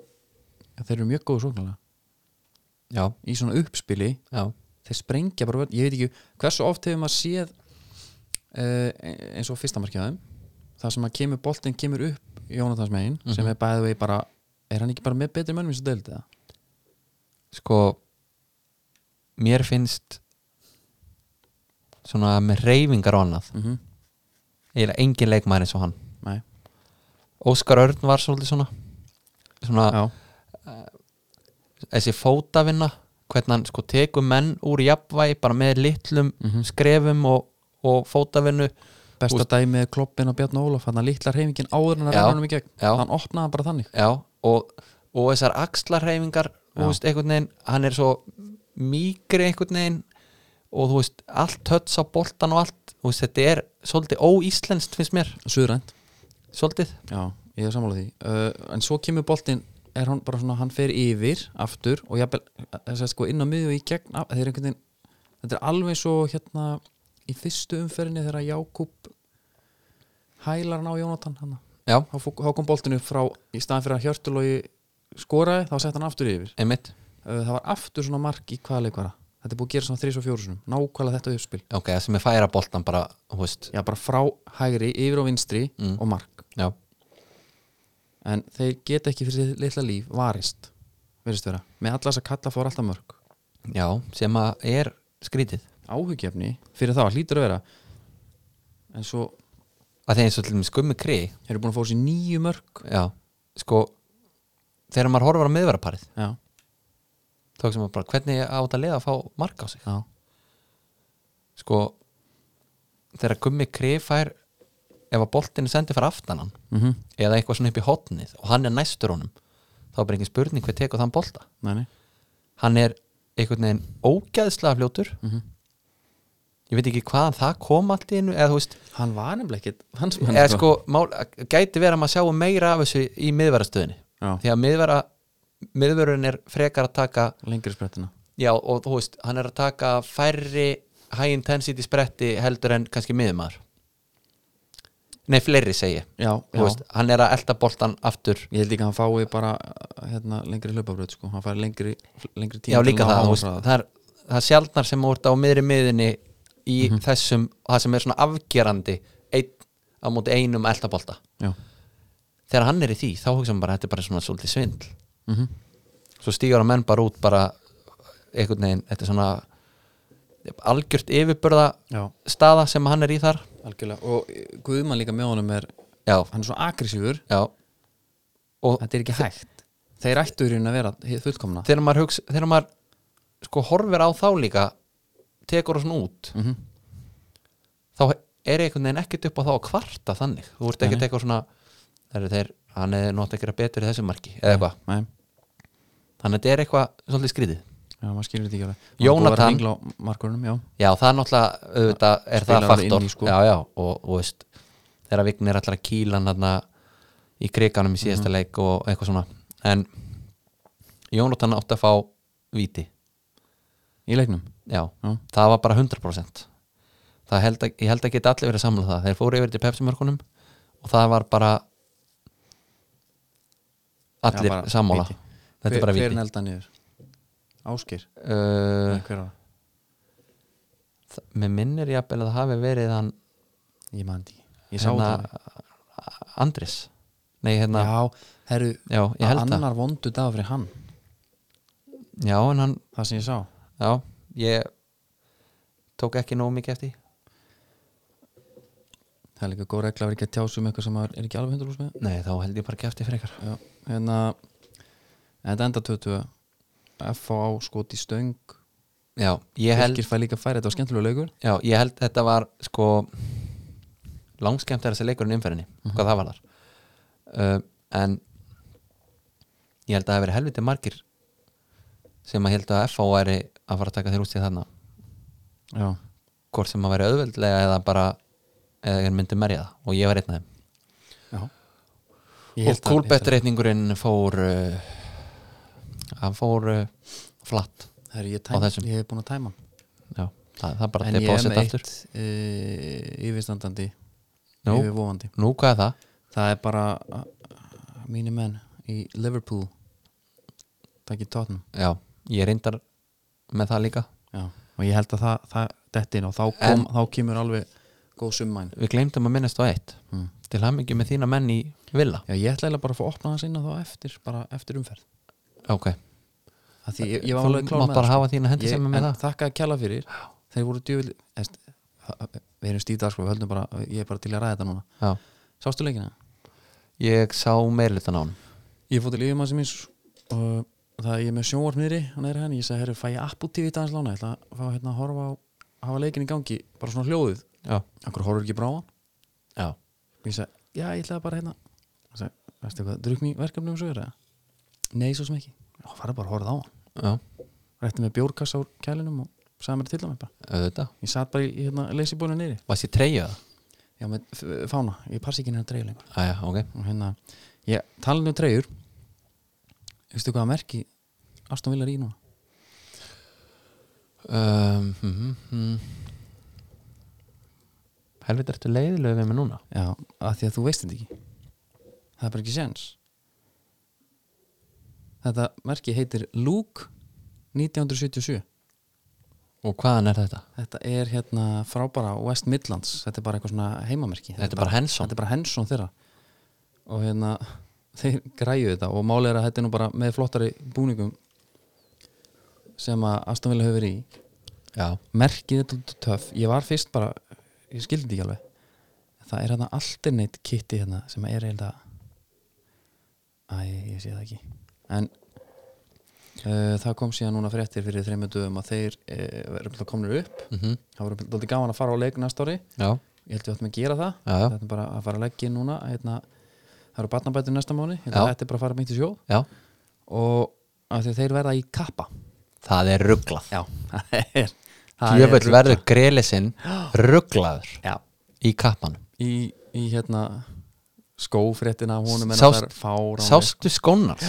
Speaker 1: þeir eru mjög góðu sóknarlega
Speaker 2: já,
Speaker 1: í svona uppspili,
Speaker 2: já,
Speaker 1: þeir sprengja bara vörn. ég veit ekki, hversu oft hefur maður séð uh, eins og fyrsta markið á þeim það sem að kemur boltinn kemur upp Jónatans megin
Speaker 2: Mhm.
Speaker 1: sem er bæðið vegi bara er hann ekki bara með betri mönnum eins og deildi það?
Speaker 2: sko mér finnst svona með reyfingar og annað
Speaker 1: Mm
Speaker 2: eiginlega engin leikmaður eins og hann
Speaker 1: Nei,
Speaker 2: Óskar Örn var svolítið svona svona
Speaker 1: já,
Speaker 2: þessi fótavinna hvernig hann sko tekur menn úr jafnvægi bara með litlum skrefum og, og fótavinnu
Speaker 1: Mhm. besta
Speaker 2: Úst-
Speaker 1: dæmið er kloppin og Bjarni Ólaf hann lítlar heimingin áður en að
Speaker 2: Já,
Speaker 1: reyna hann í gegn
Speaker 2: já.
Speaker 1: hann opnaði hann bara þannig
Speaker 2: já, og, og þessar axlarreifingar þú
Speaker 1: Já.
Speaker 2: veist, einhvern veginn, hann er svo mýkri einhvern veginn og þú veist, allt tötts á boltan og allt, þú veist, þetta er svolítið óíslenskt finnst mér,
Speaker 1: Suðrænt
Speaker 2: svolítið
Speaker 1: Já, ég er sammála því uh, En svo kemur boltinn er hann bara svona, hann fer yfir aftur og jafnvel, þess að sko inn á miðju og í gegn, af- þeir eru einhvern veginn þetta er alveg svo hérna í fyrstu umferðinni þegar Jákúb hælar hann á Jónatan hann,
Speaker 2: já,
Speaker 1: þá, fó- þá kom boltinn upp frá í staðan fyrir að Hjörtulogi skoraði, þá sett hann aftur yfir uh,
Speaker 2: einmitt,
Speaker 1: það var aftur svona mark í hvaða leikvara þetta er búið að gera svona þrís og fjórusunum, nákvæmlega þetta uppspil
Speaker 2: ok, það sem er færa boltan bara, þú veist,
Speaker 1: já, bara frá hægri, yfir og vinstri
Speaker 2: Mm.
Speaker 1: og mark
Speaker 2: já
Speaker 1: en þeir geta ekki fyrir sitt litla líf varist verðist vera, með alla þess að kalla fór alltaf mörg
Speaker 2: já, sem að er skrítið
Speaker 1: áhugjefni fyrir það hlýtur að vera en svo
Speaker 2: að þeir eins og til þeim skummi krið
Speaker 1: eru búin að fá sér nýju mörg
Speaker 2: Já, sko þegar maður horfir á miðverðarparið
Speaker 1: já,
Speaker 2: þá ekki sem maður bara hvernig á þetta liða að fá mark á sig
Speaker 1: já,
Speaker 2: sko þegar Gummi Krif fær ef að boltin er sendið fyrir aftan hann
Speaker 1: mm -hmm.
Speaker 2: eða eitthvað svona upp í hotnið og hann er næstur honum þá er bara engin spurning hver tekur þann bolta
Speaker 1: nei, nei.
Speaker 2: hann er einhvern veginn ógæðslega fljótur
Speaker 1: Mhm.
Speaker 2: ég veit ekki hvaðan það kom allt í einu eða þú veist,
Speaker 1: hann var nefnilega ekkit hans menn
Speaker 2: eða sko mál, gæti verið að maður sjáum meira af þessu í miðverðastöðinni
Speaker 1: Já.
Speaker 2: því að miðverða miðverðurinn er frekar að taka
Speaker 1: lengri sprettina
Speaker 2: já og þú veist, hann er að taka færri high intensity spretti heldur en kannski miðmaður nei, fleiri segi ég.
Speaker 1: já,
Speaker 2: Þú veist, hann er að elta boltan aftur
Speaker 1: ég held líka að hann fái bara hérna, lengri hlaupabröð sko. hann fær lengri, lengri tíma
Speaker 2: Já
Speaker 1: til
Speaker 2: líka
Speaker 1: að ná
Speaker 2: það, þú veist,
Speaker 1: hámarkshraða.
Speaker 2: það er, það er sjaldnar sem úr á miðri miðinni í þessum, það sem er svona afgerandi einn á móti einum eldabolta
Speaker 1: já,
Speaker 2: þegar hann er í því, þá hugsa maður bara þetta er bara svona svolítið svindl,
Speaker 1: mm
Speaker 2: svo stígur að menn bara út bara einhvern veginn, þetta er svona algjört yfirbörða
Speaker 1: já
Speaker 2: staða sem hann er í þar
Speaker 1: algjörlega og eh, Guðmann líka með honum er
Speaker 2: já,
Speaker 1: hann er svo agressífur,
Speaker 2: já og
Speaker 1: þetta er ekki hægt þeir ættu í raun að vera hið fullkomna
Speaker 2: þegar maður hugsa, þegar maður sko horfir á þá líka tekur það svona út
Speaker 1: mm
Speaker 2: þá er einhvern veginn ekkert upp á þá að kvarta þannig þú ert ekkert eitthvað svona það eru þeir, hann er nátt að gera betur í þessu marki eða eitthvað,
Speaker 1: nei,
Speaker 2: þannig að þetta er eitthvað svolítið skrítið
Speaker 1: já, maður skilur þetta ekki alveg Hann búið
Speaker 2: Jónatan.
Speaker 1: að vera að hringla á markurunum, já,
Speaker 2: já, það er náttúrulega, auðvitað er það
Speaker 1: Spilar það
Speaker 2: faktor
Speaker 1: inn í, sko.
Speaker 2: já, já, og, og veist þegar vignir allar að kýla hann þarna í kriganum í
Speaker 1: Mhm.
Speaker 2: síðasta leik og eitthvað svona en Jónatan átti að fá víti
Speaker 1: í leiknum
Speaker 2: já,
Speaker 1: Já.
Speaker 2: það var bara 100% það held að, ég held að geta allir verið samlega það, þeir fóru yfir til Pepsi-mörkunum og það var bara allir
Speaker 1: Já, bara
Speaker 2: sammála
Speaker 1: víti.
Speaker 2: þetta er bara
Speaker 1: hver
Speaker 2: viti
Speaker 1: nelda niður Áskir,
Speaker 2: uh,
Speaker 1: Nei, hver var það?
Speaker 2: það- mér minnir ég að það hafi verið hann
Speaker 1: ég man þetta ekki, ég sá það
Speaker 2: Andris nei hérna, já,
Speaker 1: já, herru,
Speaker 2: ég held það
Speaker 1: annar vondu dag fyrir hann
Speaker 2: já en hann,
Speaker 1: það sem ég sá
Speaker 2: já, ég tók ekki nóg mikið eftir því.
Speaker 1: það er líka góð regla að vera ekki að tjásu um eitthvað sem maður er ekki alveg 100% með
Speaker 2: nei þá held ég bara ekki eftir frekar
Speaker 1: Já, hérna en þetta enda 20 F.A. skot í stöng
Speaker 2: já, ég held
Speaker 1: Fylgir fær líka færi, þetta var skemmtilega laugur
Speaker 2: Já, ég held þetta var sko langskemmt er þessi leikurinn í umferðinni
Speaker 1: Mhm.
Speaker 2: hvað það var þar uh, en ég held að það hafi verið helviti margir sem að held að FH væri að fara að taka þér út í þarna
Speaker 1: Já,
Speaker 2: hvort sem að væri auðveldlega eða bara eða ég myndi merja það og ég var einn af þeim
Speaker 1: já
Speaker 2: og kúlbettreitningurinn fór uh, hann fór uh, flatt
Speaker 1: Herri, ég,
Speaker 2: á
Speaker 1: tæm,
Speaker 2: þessum.
Speaker 1: ég hef búin að tæma hann.
Speaker 2: Já, það, það er bara
Speaker 1: En ég er
Speaker 2: deposit
Speaker 1: með
Speaker 2: aftur
Speaker 1: eitt uh, yfirstandandi
Speaker 2: Nú.
Speaker 1: yfirvofandi
Speaker 2: Nú, hvað er það?
Speaker 1: Það er bara uh, mínu menn í Liverpool Takk í tótnum
Speaker 2: Já, ég reyndar með það líka
Speaker 1: Já, og ég held að það, það detti inn og þá, kom, þá kemur alveg góð summæn
Speaker 2: við glemdum að minnast á eitt
Speaker 1: Mm.
Speaker 2: til hann ekki með þína menn í villa
Speaker 1: Já, ég ætla eiginlega bara að fá að opna hans inn og þá eftir, bara eftir umferð
Speaker 2: ok,
Speaker 1: að Því ég, ég var
Speaker 2: þú
Speaker 1: alveg klár
Speaker 2: mátt
Speaker 1: með
Speaker 2: bara
Speaker 1: það, sko.
Speaker 2: hafa þína hendi
Speaker 1: ég,
Speaker 2: sem er með
Speaker 1: En
Speaker 2: það
Speaker 1: þakka að kjalla fyrir Þeir voru djöfil eðst, Við erum stíð dagskóð, við höldum bara Ég er bara til að ræða þetta núna
Speaker 2: Já.
Speaker 1: Sástu leikina?
Speaker 2: ég sá meirlutan á hann
Speaker 1: Ég fótt til yfirmann sem eins og það ég er með sjónvarp niðri og neðri henni, ég segi, herru, fæ ég Apple TV í dagans lána, ég ætla að fá hérna að horfa á hafa leikin í gangi, bara svona hljóðið
Speaker 2: já,
Speaker 1: Akkur horfur ekki bráðan
Speaker 2: já,
Speaker 1: og ég segi, já, ég ætlaði bara hérna og segi, veistu hvað, drukni verkefni um svo er það nei, svo sem ekki, já, farið bara að horfa á hann
Speaker 2: já,
Speaker 1: rétti með bjórkassa úr kælinum og sagði mér til það með bara
Speaker 2: auðvitað
Speaker 1: ég satt bara í, í hérna, leysibónu niðri
Speaker 2: varst ég treyja það?
Speaker 1: já, með f- fána, ég passi ekki hérna treyju lengur
Speaker 2: aðja, ok,
Speaker 1: og hérna, ég talinu um treyjur veistu hvaða merki Aston Villa er í núna
Speaker 2: um, mm, mm. helvita ertu leiðilegu við mig núna
Speaker 1: já, af því að þú veist þetta ekki það er bara ekki séns þetta merki heitir Luke 1977
Speaker 2: og hvaðan er þetta?
Speaker 1: Þetta er hérna frábara West Midlands, þetta er bara eitthvað svona heimamerki
Speaker 2: þetta er bara hensón
Speaker 1: þetta er bara hensón þeirra og hérna þeir græju þetta og máli er að þetta er nú bara með flottari búningum sem að Aston Villa hefur verið í
Speaker 2: já,
Speaker 1: merkið er þetta töff, ég var fyrst bara ég skildi þetta ekki alveg það er hérna alternate kitti hérna sem er hérna æ, ég sé það ekki en uh, það kom síðan núna fréttir fyrir þreymönduðum að þeir uh, verður komnir upp
Speaker 2: mhm,
Speaker 1: það voru daldið gaman að fara á leik næsta ári
Speaker 2: já
Speaker 1: ég held ég áttum að gera það
Speaker 2: Já, já.
Speaker 1: þetta er bara að fara að leggja inn núna hérna, það eru barnabætur næsta mánu hérna,
Speaker 2: Já.
Speaker 1: þetta er bara að fara meint í sjó
Speaker 2: já,
Speaker 1: og að þeir, þeir verða í kappa
Speaker 2: það er rugglað
Speaker 1: já, það er það er
Speaker 2: Jöfull
Speaker 1: rugl-
Speaker 2: verður grelisinn rugglaður
Speaker 1: já,
Speaker 2: í kappanum
Speaker 1: í, í hérna skófréttina af honum en það
Speaker 2: Sást-
Speaker 1: er fáránlegt.
Speaker 2: Sástu skónar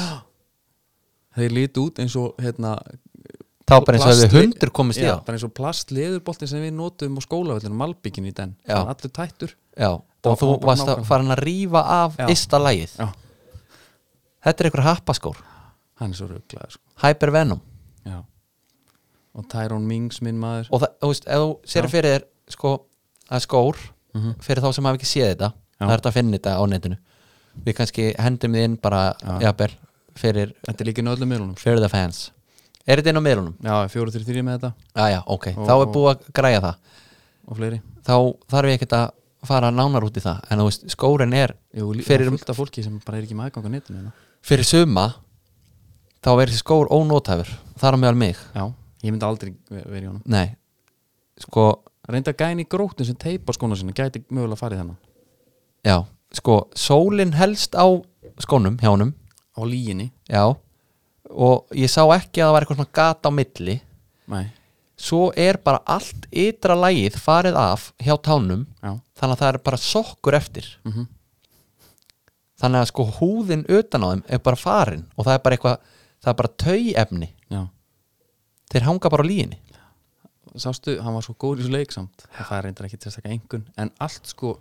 Speaker 1: þeir líti út eins og hérna,
Speaker 2: Þá bara eins og hefði
Speaker 1: plasti-
Speaker 2: hundur komist í
Speaker 1: já,
Speaker 2: á
Speaker 1: bara eins og plastleðurboltin sem við notum á skólavöllunum malbyggin í den,
Speaker 2: Já.
Speaker 1: Hann allur tættur
Speaker 2: Já,
Speaker 1: Þá-
Speaker 2: og þú
Speaker 1: þá bara
Speaker 2: varst að
Speaker 1: nákvæmlega.
Speaker 2: farin að rífa af
Speaker 1: Já.
Speaker 2: ysta lagið
Speaker 1: já,
Speaker 2: Þetta er einhver happaskór
Speaker 1: hann er svo rugglaður sko.
Speaker 2: Hypervenom
Speaker 1: já og Tyrone Mings minn maður
Speaker 2: Og það, þú veist, ef þú sér fyrir þér sko, að skór fyrir þá sem hafa ekki séð
Speaker 1: Mhm.
Speaker 2: þetta
Speaker 1: Já.
Speaker 2: það er þetta að finna þetta á netinu Við kannski hendum þið inn bara jafnvel, fyrir,
Speaker 1: þetta er líka í öllum miðlunum sko.
Speaker 2: fyrir the fans Er þetta inn á meðlunum?
Speaker 1: já, fjóru til þrjú með þetta
Speaker 2: Já, já, ok,
Speaker 1: Og-
Speaker 2: þá er
Speaker 1: og-
Speaker 2: búið að græja það
Speaker 1: og fleiri
Speaker 2: þá þarf ég ekkert að fara nánar út í það en þú veist, skórin er
Speaker 1: Jú, lí-
Speaker 2: Fyrir-
Speaker 1: það er fullt af fólki sem bara er ekki með aðgang á netinu hérna.
Speaker 2: fyrir suma þá er þessi skór ónótæfur þar á meðal mig
Speaker 1: já, ég myndi aldrei ve- verið í honum
Speaker 2: Nei, sko,
Speaker 1: reynda gæni í grótun sem teipar skóna sinna gæti mögulega farið þennan
Speaker 2: já, sko sólin helst á skónum hjá honum
Speaker 1: á líginni,
Speaker 2: já, og ég sá ekki að það var eitthvað svona gata á milli
Speaker 1: nei,
Speaker 2: svo er bara allt ytra lagið farið af hjá tánum
Speaker 1: já
Speaker 2: þannig að það er bara sokkur eftir
Speaker 1: mm
Speaker 2: þannig að sko húðin utan á þeim er bara farin og það er bara eitthvað það er bara tauefni,
Speaker 1: já,
Speaker 2: þeir hanga bara á líginni
Speaker 1: sástu, hann var svo góð í þessu leik samt það er reyndar ekki til þess að engun en allt sko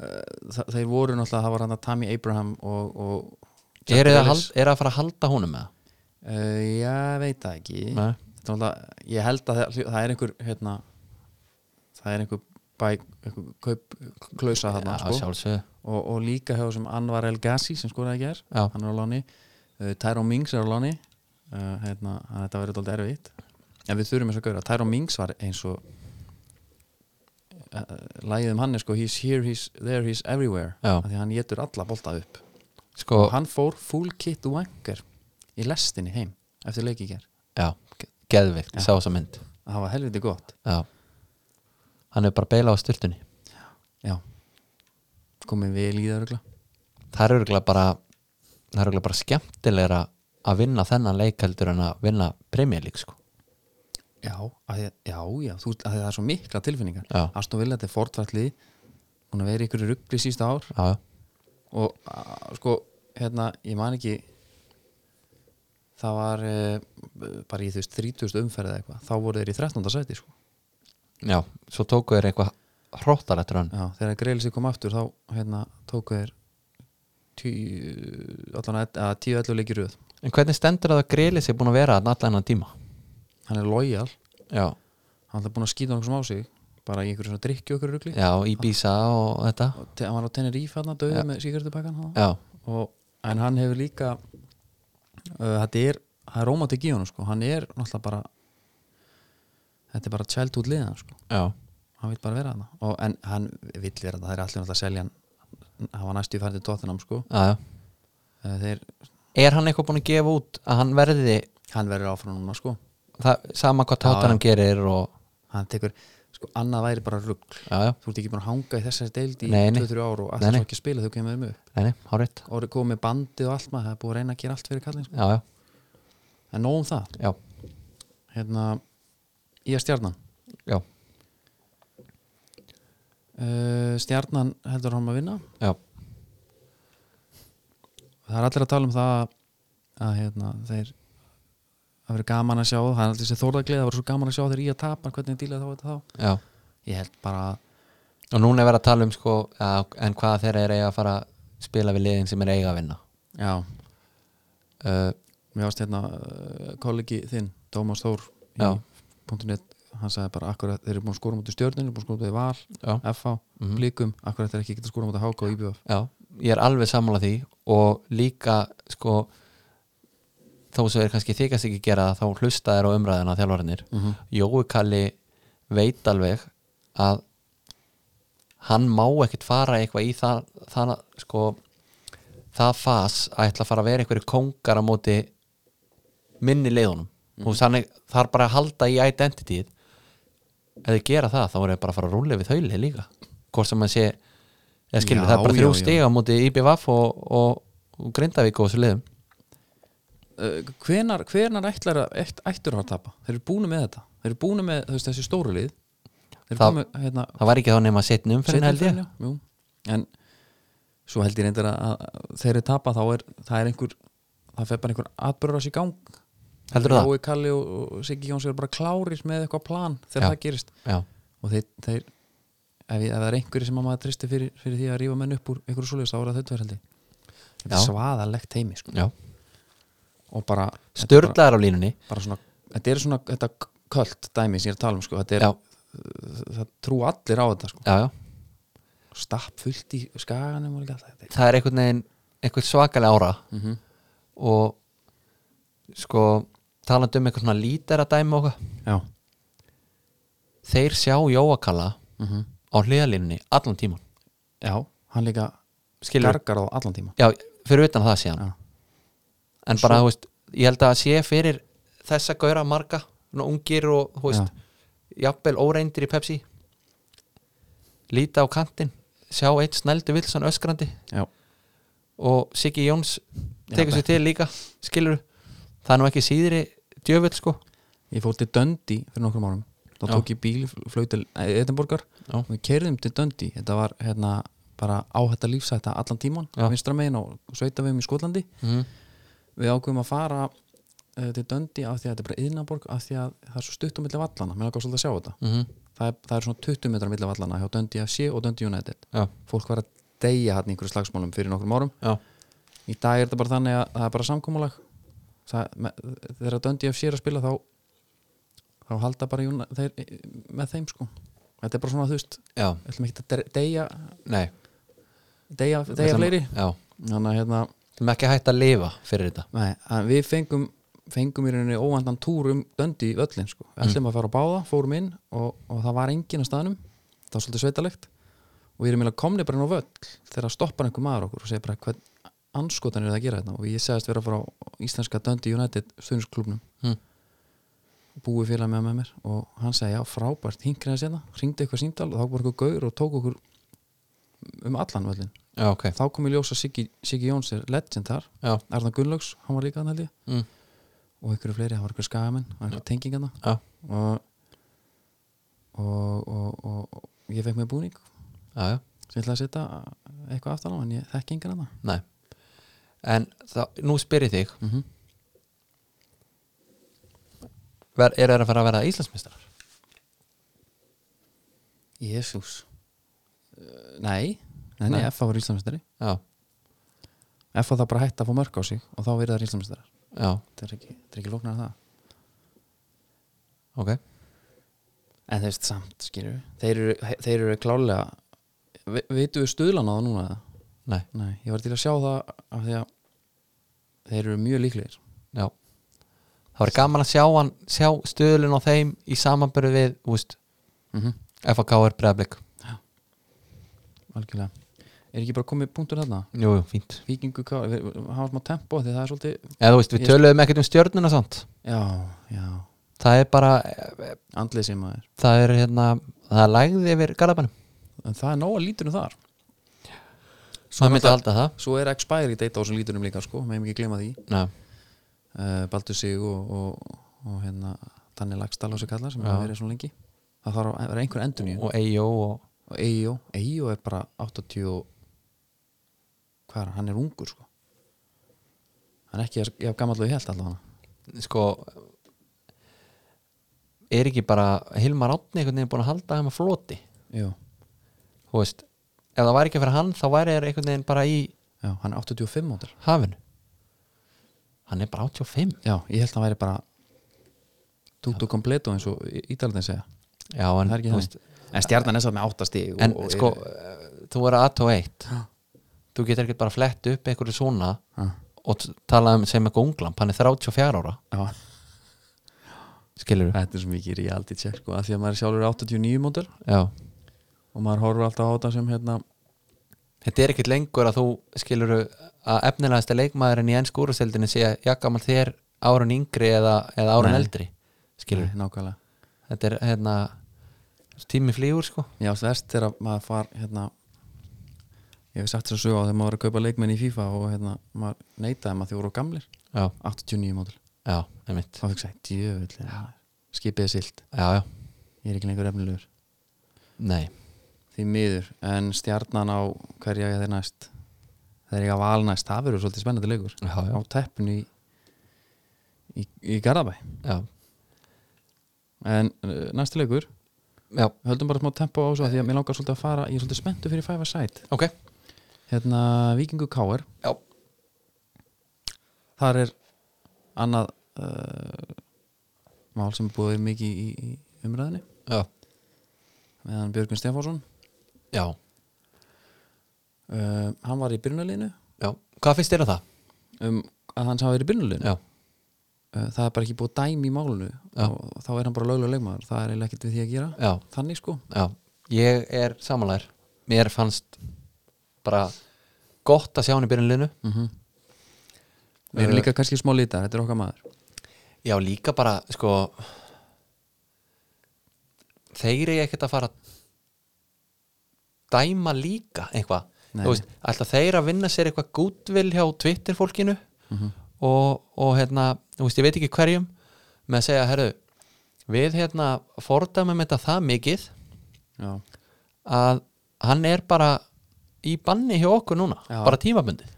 Speaker 1: uh, þa- þeir voru náttúrulega, það var hann að Tammy Abraham og, og Jack
Speaker 2: er það,
Speaker 1: Grealish.
Speaker 2: hald, er það að fara að halda honum með
Speaker 1: uh, já, veit það ekki
Speaker 2: það?
Speaker 1: Þetta er náttúrulega, ég held að það, það er einhver hérna, það er einhver bæ, einhver kaup, klausa þarna
Speaker 2: já,
Speaker 1: sko.
Speaker 2: sjálfsögðu
Speaker 1: og, og líka hjá sem Anwar El Gassi sem skoraði ekki er
Speaker 2: já,
Speaker 1: hann er á láni uh, Tyrone Mings er á láni uh, hérna, hann- þetta verður alltaf erfitt en við þurfum þess að gauðra, Tyrone Mings var eins og uh, lægið um hann er sko he's here, he's there, he's everywhere
Speaker 2: Já.
Speaker 1: af því að hann getur alla bolta upp
Speaker 2: sko,
Speaker 1: og hann fór full kit wanker í lestinni heim eftir leik í ger
Speaker 2: já, ge- geðveikt
Speaker 1: Já.
Speaker 2: ég sá þessa mynd
Speaker 1: það var helviti gott
Speaker 2: já. hann er bara beilað á styrtunni
Speaker 1: já komið vel í það örgla
Speaker 2: það er örgulega bara það er örgulega bara skemmtilegra að vinna þennan leik heldur en að vinna premjölík sko.
Speaker 1: já, að, já, já, þú, að það er svo mikla tilfinningar
Speaker 2: Já.
Speaker 1: Aston Villa, þetta er fortfætlið hún er verið ykkur ruggli sísta ár
Speaker 2: já, já.
Speaker 1: og a, sko, hérna, ég man ekki það var e, bara í þess 30. umferð eða eitthvað, þá voru þeir í 13. sæti sko.
Speaker 2: já, svo tóku þér eitthvað hróttarætt rönn
Speaker 1: já, þegar Greilsi kom aftur þá hérna, tóku þeir tíu, allan að, að tíu ellu leikir röð,
Speaker 2: en hvernig stendur að það grilið sér búin að vera að nalla hennan tíma
Speaker 1: hann er lojal
Speaker 2: já,
Speaker 1: hann er búin að skýta hann sem á sig bara í einhverju svona drikki okkur rugli
Speaker 2: já í Bísa og þetta
Speaker 1: Og te- hann var á Tenerife hann döðu með síkertupakkan
Speaker 2: já,
Speaker 1: og, en hann hefur líka uh, þetta er það er rómatik í honum sko, hann er náttúrulega bara þetta er bara childhood liðan sko,
Speaker 2: já,
Speaker 1: hann vil bara vera þarna og, en hann vill vera þarna, það er allir náttúrulega að selja hann hann var næstu í færið tóttunum sko
Speaker 2: já, já.
Speaker 1: uh, þeir,
Speaker 2: er hann eitthvað búin að gefa út að hann verði
Speaker 1: hann verður áfram núna sko
Speaker 2: það, sama hvað tátan hann gerir og
Speaker 1: hann tekur, sko, annað væri bara rugg
Speaker 2: já, já,
Speaker 1: þú ert ekki búin að hanga í þessari deild í
Speaker 2: Nei, nei.
Speaker 1: 2-3 ár og
Speaker 2: Nei,
Speaker 1: alltaf
Speaker 2: nei.
Speaker 1: ekki að spila þau kemur um upp
Speaker 2: nei, nei, hárétt
Speaker 1: og eru komið með bandi og allt maður, það er búið að reyna að gera allt fyrir kallin sko.
Speaker 2: já, já,
Speaker 1: en nóg um það,
Speaker 2: já,
Speaker 1: hérna í að stjarnan
Speaker 2: já,
Speaker 1: Uh, stjarnan heldur hann að vinna
Speaker 2: já,
Speaker 1: það er allir að tala um það að, að hérna, þeir það verður gaman að sjá það er allir þessi þórðaglið það verður svo gaman að sjá þeir í að tapa hvernig díla þá þetta þá
Speaker 2: já
Speaker 1: ég held bara að
Speaker 2: og núna er verið að tala um sko já, en hvað þeirra er eiga að fara að spila við liðin sem er eiga að vinna
Speaker 1: já
Speaker 2: uh,
Speaker 1: mér varst hérna uh, kollegi þinn Dómas Þór í
Speaker 2: Já.
Speaker 1: .net hann sagði bara akkurat þeir eru búin að skora mútið stjörninu búin að skora mútið val
Speaker 2: já,
Speaker 1: FH mm
Speaker 2: Mhm.
Speaker 1: blikum akkurat þeir ekki geta skora mútið HK og IBF
Speaker 2: já, ég er alveg sammála því og líka sko þó sem er kannski þykast ekki gera það þá hlusta þér á umræðina þjálfarinnir
Speaker 1: mm -hmm.
Speaker 2: Jói Kalli veit alveg að hann má ekkert fara eitthvað í það, það sko það fas að ætla að fara að vera einhverju kóngar á móti minni leiðunum mm. þannig þarf bara að halda í identityð ef þið gera það þá voru þið bara að fara að rúlega við þaulið líka hvort sem maður sé eða skilur
Speaker 1: Já,
Speaker 2: það er bara
Speaker 1: já,
Speaker 2: þrjú
Speaker 1: já.
Speaker 2: stig á móti IBVF og, og, og Grindavík og þessu liðum
Speaker 1: uh, hvenar, hvenar ætlar að ætt, ættur að tapa? Þeir eru búinu með þetta þeir eru búinu með þú veist, þessi stóru lið þeir eru
Speaker 2: Það-
Speaker 1: búinu með hérna,
Speaker 2: það var ekki þá nema setni umferðin
Speaker 1: seinni
Speaker 2: held ég
Speaker 1: umferðina, jú. en svo held ég reyndar að, að þeir eru tapa þá er það er einhver það fer bara einhver atbörðars í gang
Speaker 2: heldur það?
Speaker 1: Jói Kalli og, og Siggi Jóns eru bara klárir með eitthvað plan þegar
Speaker 2: Já.
Speaker 1: það gerist
Speaker 2: Já,
Speaker 1: og þeir, þeir ef, ég, ef það er einhverju sem að maður tristi fyrir, fyrir því að rífa menn upp úr einhverju svoleiðis þá er það þau tveir held ég þetta er
Speaker 2: Já.
Speaker 1: svaðalegt heimi sko.
Speaker 2: já.
Speaker 1: og bara þetta er bara-
Speaker 2: störlaðar á línunni
Speaker 1: bara svona, þetta er svona þetta kvöld dæmi sem ég er að tala um sko, þetta er,
Speaker 2: Já.
Speaker 1: það trú allir á þetta sko.
Speaker 2: já, já.
Speaker 1: stapp fullt í skaganum og líka alltaf þetta
Speaker 2: það er einhvern veginn einhvern svakalega ára
Speaker 1: mm -hmm.
Speaker 2: og sko talandi um eitthvað svona lítera dæmi og eitthvað
Speaker 1: já
Speaker 2: þeir sjá Jóakalla
Speaker 1: mm
Speaker 2: á hliðalínunni allan tíman
Speaker 1: já, hann líka
Speaker 2: skilur,
Speaker 1: gargar á allan tíma
Speaker 2: já, fyrir utan það síðan
Speaker 1: já,
Speaker 2: en bara, þú veist, ég held að sé fyrir þessa gaura marga svona ungir og, þú veist, jafnvel óreindir í Pepsi líta á kantinn sjá eitt snældu vilsan öskrandi
Speaker 1: já,
Speaker 2: og Siggi Jóns tekur
Speaker 1: Já,
Speaker 2: sér til líka skilur, það er nú ekki síðri djöfull sko
Speaker 1: ég fór til Döndi fyrir nokkrum árum þá
Speaker 2: Já.
Speaker 1: tók ég bíl, flög til Edinborgar
Speaker 2: Já.
Speaker 1: og við kerðum til Döndi þetta var hérna bara áhætta lífsætta allan tíman,
Speaker 2: Já.
Speaker 1: vinstra megin og sveita í Skotlandi
Speaker 2: mm.
Speaker 1: við ákveðum að fara uh, til Döndi af því að þetta er bara yðnaborg af því að það er svo stutt á milli vallana mér langar svolítið að sjá þetta
Speaker 2: Mm
Speaker 1: það er, það er svona 20 metrar á milli vallana hjá Döndi FC og Döndi United
Speaker 2: já,
Speaker 1: fólk var að deyja hann í einhverju slagsmálum fyrir nokkrum árum
Speaker 2: já,
Speaker 1: í dag er þetta bara þannig að það er bara samkómulag þegar Döndi FC er að spila þá þá halda bara Juna, þeir, með þeim sko þetta er bara svona þú veist
Speaker 2: já,
Speaker 1: ætlum ekki að der- deyja
Speaker 2: nei
Speaker 1: deyja, deyja fleiri
Speaker 2: já,
Speaker 1: þannig að hérna
Speaker 2: þeim ekki hægt að lifa fyrir þetta
Speaker 1: Nei, að við fengum fengum í rauninni óvandan túr um döndi í öllin sko, ætlum að fara á báða, fórum inn og, og það var enginn á staðnum það var svolítið sveitalegt og við erum eiginlega komni bara inn á völl þegar stoppar einhver maður okkur og segir bara hvern anskotan er það að gera þetta og ég segðist vera að fara á íslenska döndi United stundsklubnum
Speaker 2: Mm.
Speaker 1: búið félag með, með mér og hann segi já frábært, hingrið að sérna ringdi eitthvað síntal og þá var eitthvað gaur og tók okkur um allan völlin
Speaker 2: já, ok,
Speaker 1: þá kom ég ljósa Siggi, Siggi Jóns er legend þar
Speaker 2: já,
Speaker 1: Arna Gunnlaugs, hann var líka hann held ég
Speaker 2: mm.
Speaker 1: og einhverju fleiri, hann var einhverju skagamenn og einhverju tengingarna
Speaker 2: já.
Speaker 1: og, og, og, og, og ég fekk mér búning
Speaker 2: já, já.
Speaker 1: sem ég ætlaði að setja eitthvað aftan á en ég þekki engan annað
Speaker 2: Nei En þá, nú spyr ég þig
Speaker 1: mm -hmm.
Speaker 2: ver, Er það að fara að verða Íslandsmeistarar?
Speaker 1: Jésús Eh, Nei, nei, nei,
Speaker 2: Nei.
Speaker 1: F.A. var Íslamistari
Speaker 2: Já,
Speaker 1: F.A. það bara hætti að fá mörg á sig og þá verið það Íslamistarar
Speaker 2: já,
Speaker 1: þetta er ekki, þetta er ekki lóknar að það
Speaker 2: ok
Speaker 1: en þeir veist samt, skilur þeir eru, þeir eru klálega Vi- vitum við stuðlan á það núna eða?
Speaker 2: Nei,
Speaker 1: Nei, ég var til að sjá það af því að þeir eru mjög líklegir
Speaker 2: já Það var gaman að sjá, hann, sjá stöðlun á þeim í samanbyrðu við þú veist,
Speaker 1: mm
Speaker 2: FAK er breðablik
Speaker 1: algjörlega er ekki bara komið punktur þarna
Speaker 2: Jú, jú, fínt
Speaker 1: vikingu, hvað- við- við- hafa smá tempo því það er svolítið
Speaker 2: Eða þú veist, við
Speaker 1: Ég-
Speaker 2: töluðum ekkert um stjörnuna svont
Speaker 1: já, já,
Speaker 2: Það er bara, eh, eh,
Speaker 1: andlið sem maður
Speaker 2: það er hérna Það lægði yfir garðabænum
Speaker 1: en það er nóg að lítunum þar
Speaker 2: Svo myndi
Speaker 1: náttúrulega-
Speaker 2: alltaf það
Speaker 1: svo er expiry date á þessum lítunum líka sko, meðum ekki glema því
Speaker 2: Nei,
Speaker 1: uh, Baldur Sig og, og, og hérna Danni Lagstall og sér kallar sem
Speaker 2: Já.
Speaker 1: hafa verið svona lengi það þarf að vera einhver endur nýju
Speaker 2: Og EIO og
Speaker 1: og EIO, EIO er bara 80 og- hvað er hann, hann er ungur sko hann er ekki, ég haf gammallu held alltaf hann
Speaker 2: sko er ekki bara Hilmar Átni einhvern veginn búin að halda þeim að floti
Speaker 1: Jú,
Speaker 2: þú veist, ef það væri ekki fyrir hann þá væri þeir einhvern veginn bara í
Speaker 1: já, hann er 85 mótur
Speaker 2: hafinu hann er bara 85
Speaker 1: Já, ég held að hann væri bara tutto completo eins og ítalðin segja
Speaker 2: já, en,
Speaker 1: Það er ekki
Speaker 2: þú
Speaker 1: þannig. En stjarnan er satt með 8 stig og,
Speaker 2: en
Speaker 1: og
Speaker 2: sko, eh, þú er að 21
Speaker 1: Ha.
Speaker 2: þú getur ekki bara flett upp einhverju svona
Speaker 1: ha,
Speaker 2: og t- tala um sem eitthvað unglamp hann er 34 ára,
Speaker 1: já,
Speaker 2: skilur
Speaker 1: Þetta er svo mikið reality check sko, að því að maður er sjálfur 89 mótur
Speaker 2: já,
Speaker 1: og maður horfur alltaf á þetta sem hérna
Speaker 2: þetta er ekkit lengur að þú skilur að efnilegasta leikmaðurinn í ennsku úrvaseldinni sé jakkamal þér árun yngri eða, eða árun
Speaker 1: Nei.
Speaker 2: eldri skilur,
Speaker 1: Nei, Nákvæmlega
Speaker 2: þetta er hérna tími flýgur sko
Speaker 1: Já, þess þegar maður far hérna ég hef sagt þess að sögja á þegar maður var að kaupa leikmenn í FIFA og hérna maður neitaði maður því voru of gamlir
Speaker 2: já,
Speaker 1: 89 mótil,
Speaker 2: já, einmitt
Speaker 1: þá fyrir sagt djöfull skipið er silt,
Speaker 2: já, já,
Speaker 1: ég er ekki lengur efnilegur
Speaker 2: nei,
Speaker 1: því miður, en stjarnan á hverja ég þeir næst þegar ég að val næst, það verður svolítið spennandi leikur
Speaker 2: já, já,
Speaker 1: á teppinu í í, í Garðabæ
Speaker 2: já,
Speaker 1: en uh, næsti leikur,
Speaker 2: já.
Speaker 1: höldum bara smá tempo á svo af því að mér langar svolítið að fara, ég er svolítið spenntu fyrir 5 sæt
Speaker 2: ok,
Speaker 1: hérna Víkingu Káir
Speaker 2: já,
Speaker 1: þar er annað uh, mál sem er búið að vera mikið í, í umræðinni
Speaker 2: já,
Speaker 1: meðan Björgun Stefánsson
Speaker 2: já,
Speaker 1: uh, hann var í byrjunarliðinu
Speaker 2: já hvað finnst þér að það?
Speaker 1: um að hans hafa verið í byrjunarliðinu
Speaker 2: já,
Speaker 1: uh, það er bara ekki búið að dæmi í málinu
Speaker 2: Já.
Speaker 1: og þá er hann bara löglega leikmaður það er eiginlega ekkert við því að gera
Speaker 2: já,
Speaker 1: þannig sko
Speaker 2: já, ég er samanlæður mér fannst bara gott að sjá hann í byrjunlinu
Speaker 1: mm við erum
Speaker 2: Mhm. Uh,
Speaker 1: líka kannski smá litar, þetta er okkar maður
Speaker 2: Já, líka bara, sko Þeir eru ekkert að fara að dæma líka eitthvað,
Speaker 1: Nei.
Speaker 2: þú veist, alltaf þeir að vinna sér eitthvað gútvil hjá Twitter fólkinu mhm. og, og hérna þú veist, ég veit ekki hverjum með að segja, herru, við hérna fordæmum þetta það mikið
Speaker 1: já,
Speaker 2: að hann er bara í banni hjá okkur núna,
Speaker 1: Já.
Speaker 2: bara tímabundið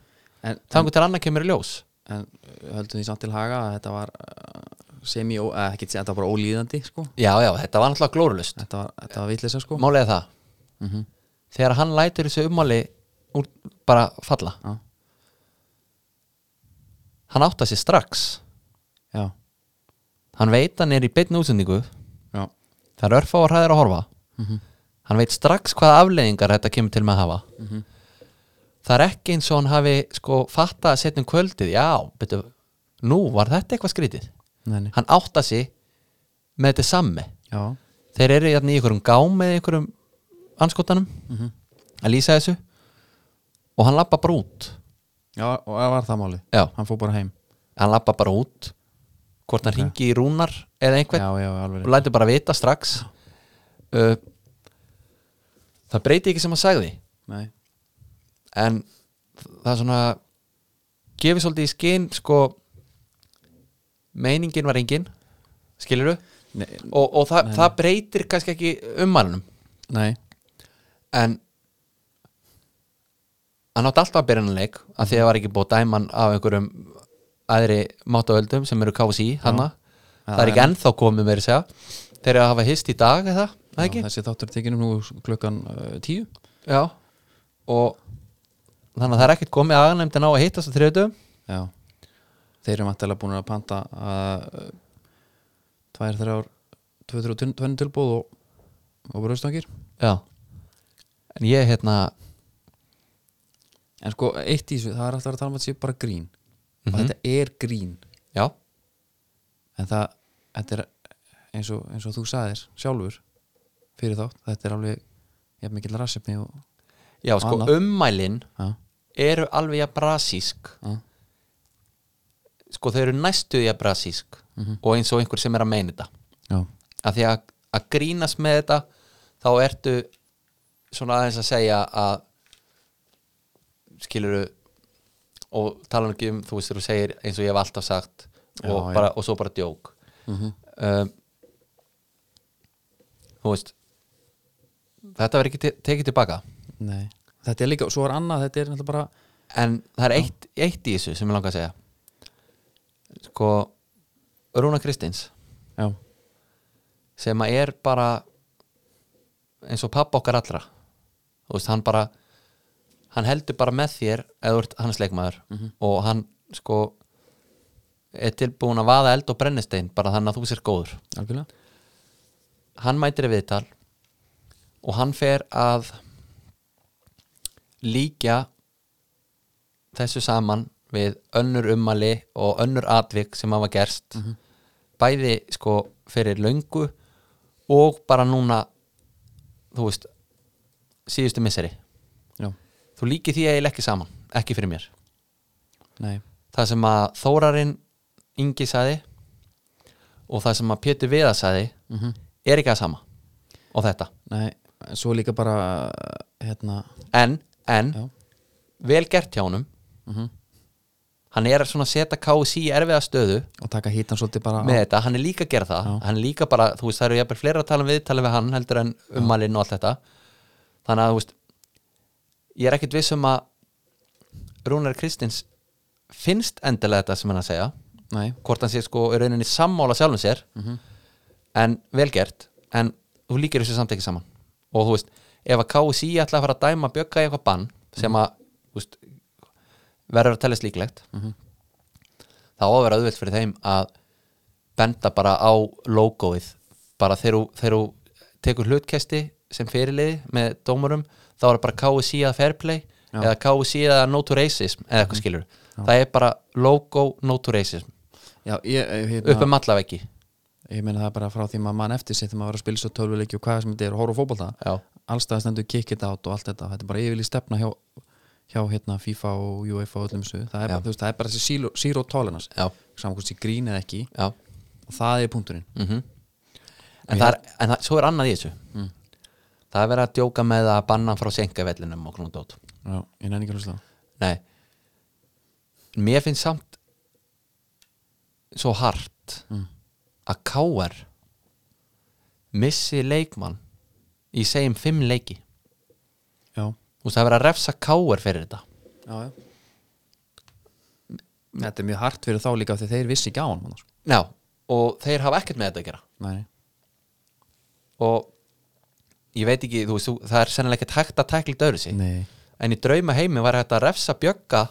Speaker 1: en,
Speaker 2: þangur til annað kemur í ljós
Speaker 1: en uh, höldum því samt til haga að þetta var uh, semi, eða ekki, þetta var bara ólíðandi sko,
Speaker 2: Já, já, þetta var náttúrulega glórulust
Speaker 1: þetta var, þetta var vitleysa sko
Speaker 2: Málið er það
Speaker 1: mm
Speaker 2: þegar hann lætur þessu ummali úr, bara falla
Speaker 1: Já.
Speaker 2: hann átta sér strax
Speaker 1: já,
Speaker 2: hann veit hann er í beinni útsendingu
Speaker 1: já,
Speaker 2: það er örfáar hæðir að horfa
Speaker 1: Mhm.
Speaker 2: hann veit strax hvaða afleiðingar þetta kemur til með að hafa
Speaker 1: Mhm.
Speaker 2: það er ekki eins og hann hafi sko fattað að setja um kvöldið já, betur, nú var þetta eitthvað skrítið
Speaker 1: nei, nei.
Speaker 2: hann átta sér með þetta samme
Speaker 1: já,
Speaker 2: þeir eru hérna í einhverjum gám eða einhverjum anskotanum
Speaker 1: Mhm.
Speaker 2: að lýsa þessu og hann lappa bara út
Speaker 1: já, og það var það málið
Speaker 2: já,
Speaker 1: hann fór bara heim
Speaker 2: hann lappa bara út hvort hann ringi í rúnar eða einhvern
Speaker 1: já, já, alveg
Speaker 2: og
Speaker 1: rétt.
Speaker 2: lætur bara vita strax uh, það breyti ekki sem hann sagði
Speaker 1: nei,
Speaker 2: en það er svona gefið svolítið í skinn sko meiningin var engin skilur
Speaker 1: nei,
Speaker 2: og, og það, það breytir kannski ekki ummælunum
Speaker 1: nei.
Speaker 2: en hann átti alltaf að byrja hann leik af
Speaker 1: Mhm.
Speaker 2: því að það var ekki búið að dæma hann af einhverjum aðri máttavöldum sem eru KFC hana, það er ekki ennþá komið meiri segja, þeir eru að hafa hist í dag eða, það
Speaker 1: Já,
Speaker 2: ekki?
Speaker 1: þessi þáttur er tekinum nú klukkan uh, tíu
Speaker 2: Já, og þannig að það er ekkert komið aðnæmt en á að hittast á þriðutum
Speaker 1: já, þeir eru mættilega búin að panta að uh, tvær, þrjár tvö, þrjú, tvenni tilbúð og, og bröðstangir
Speaker 2: Já, en ég hérna
Speaker 1: en sko, eitt í þessu, það er alltaf að tala um að þetta sé bara grín og
Speaker 2: mhm,
Speaker 1: þetta er grín
Speaker 2: Já,
Speaker 1: en það, þetta er eins og, eins og þú sagðir sjálfur fyrir þátt, þetta er alveg jafn mikill rassefni og
Speaker 2: já sko
Speaker 1: Annað.
Speaker 2: ummælin
Speaker 1: já,
Speaker 2: eru alveg jafn brasísk
Speaker 1: já,
Speaker 2: sko þau eru næstu jafn brasísk
Speaker 1: Mhm.
Speaker 2: og eins og einhver sem er að meina þetta
Speaker 1: já,
Speaker 2: að því að, að grínast með þetta þá ertu svona aðeins að segja að skiluru og tala ekki um, þú veist þú segir eins og ég hef alltaf sagt
Speaker 1: Já,
Speaker 2: og,
Speaker 1: já.
Speaker 2: bara, og svo bara djók
Speaker 1: Mhm.
Speaker 2: um, þú veist þetta verður ekki te tekið tilbaka
Speaker 1: nei þetta er líka, svo er annað, þetta er náttúrulega bara
Speaker 2: en það er eitt, eitt í þessu sem ég langa að segja sko Rúna Kristins
Speaker 1: já,
Speaker 2: sem að er bara eins og pappa okkar allra þú veist, hann bara hann heldur bara með þér eða þú ert hans leikmaður og hann sko er tilbúin að vaða eld og brennistein bara þannig að þú sér góður
Speaker 1: algjörlega
Speaker 2: hann mætir í viðtal og hann fer að líka þessu saman við önnur ummali og önnur atvik sem hafa gerst bæði sko fyrir löngu og bara núna þú veist síðustu misseri
Speaker 1: já,
Speaker 2: þú líkir því eiginlega ekki saman, ekki fyrir mér
Speaker 1: nei,
Speaker 2: það sem að Þórarinn Ingi saði og það sem að Pétur Viða saði
Speaker 1: mhm
Speaker 2: er ekki að sama og þetta
Speaker 1: Nei, svo líka bara hérna,
Speaker 2: en, en,
Speaker 1: já
Speaker 2: vel gert hjá honum
Speaker 1: mhm.
Speaker 2: hann er svona að setja KSI í erfiða stöðu
Speaker 1: og taka hítan svolítið bara á-
Speaker 2: með þetta, hann er líka að gera það
Speaker 1: Já.
Speaker 2: hann er líka bara, þú veist, það eru jafnvel fleira að tala um við tala við hann heldur en ummalinn og allt þetta þannig að, þú veist ég er ekkit viss um að Rúnar Kristins finnst endilega þetta sem hann er að segja
Speaker 1: Nei,
Speaker 2: hvort hann sé sko í rauninni sammála sjálfum sér en velgert en þú líkir þessu samt ekki saman og þú veist, ef að KSI ætla að fara að dæma bjögga í eitthvað bann sem að þú veist, verður að teljast líklegt þá á að vera auðvelt fyrir þeim að benda bara á logoið bara þegar þú- þegar þú tekur hlutkesti sem fyrirliði með dómurum þá er bara KSI að fairplay
Speaker 1: Já.
Speaker 2: eða KSI að no to racism eða eitthvað skilur, það er bara logo no to racism
Speaker 1: já, ég, ég- hérna,
Speaker 2: upp um allaveggi
Speaker 1: ég meina það er bara frá því maður mann eftir sér þegar maður var að spila svo tölvuleiki og hvað sem þetta er og horfa á fótbolta
Speaker 2: já,
Speaker 1: allstað stendur kick it out og allt þetta þetta er bara yfirlega stefna hjá, hjá hérna, FIFA og UEFA og öllum þessu það er,
Speaker 2: Já.
Speaker 1: bara, þú veist, það er bara þessi zero, zero tolerance
Speaker 2: já,
Speaker 1: saman hvort því grín eða ekki
Speaker 2: já
Speaker 1: og það er punkturinn
Speaker 2: mm en, það er, en það, svo er annað í þessu það er verið að djóka með að banna hann frá senkavellinum og svona dót
Speaker 1: já, ég nefn ekki að hlusta á.
Speaker 2: nei mér finnst samt svo hart að K.R. missi leikmann í segjum fimm leiki
Speaker 1: já,
Speaker 2: Þú veist, það er verið að refsa K.R. fyrir þetta
Speaker 1: já, já þetta er mjög hart fyrir þá líka af því þeir vissi ekki á hann annars.
Speaker 2: já, og þeir hafa ekkert með þetta að gera
Speaker 1: nei,
Speaker 2: og ég veit ekki, þú veist, þú- það er sennilega ekkert hægt að tækla döru sig
Speaker 1: nei,
Speaker 2: en í drauma heimi var þetta að refsa bjögga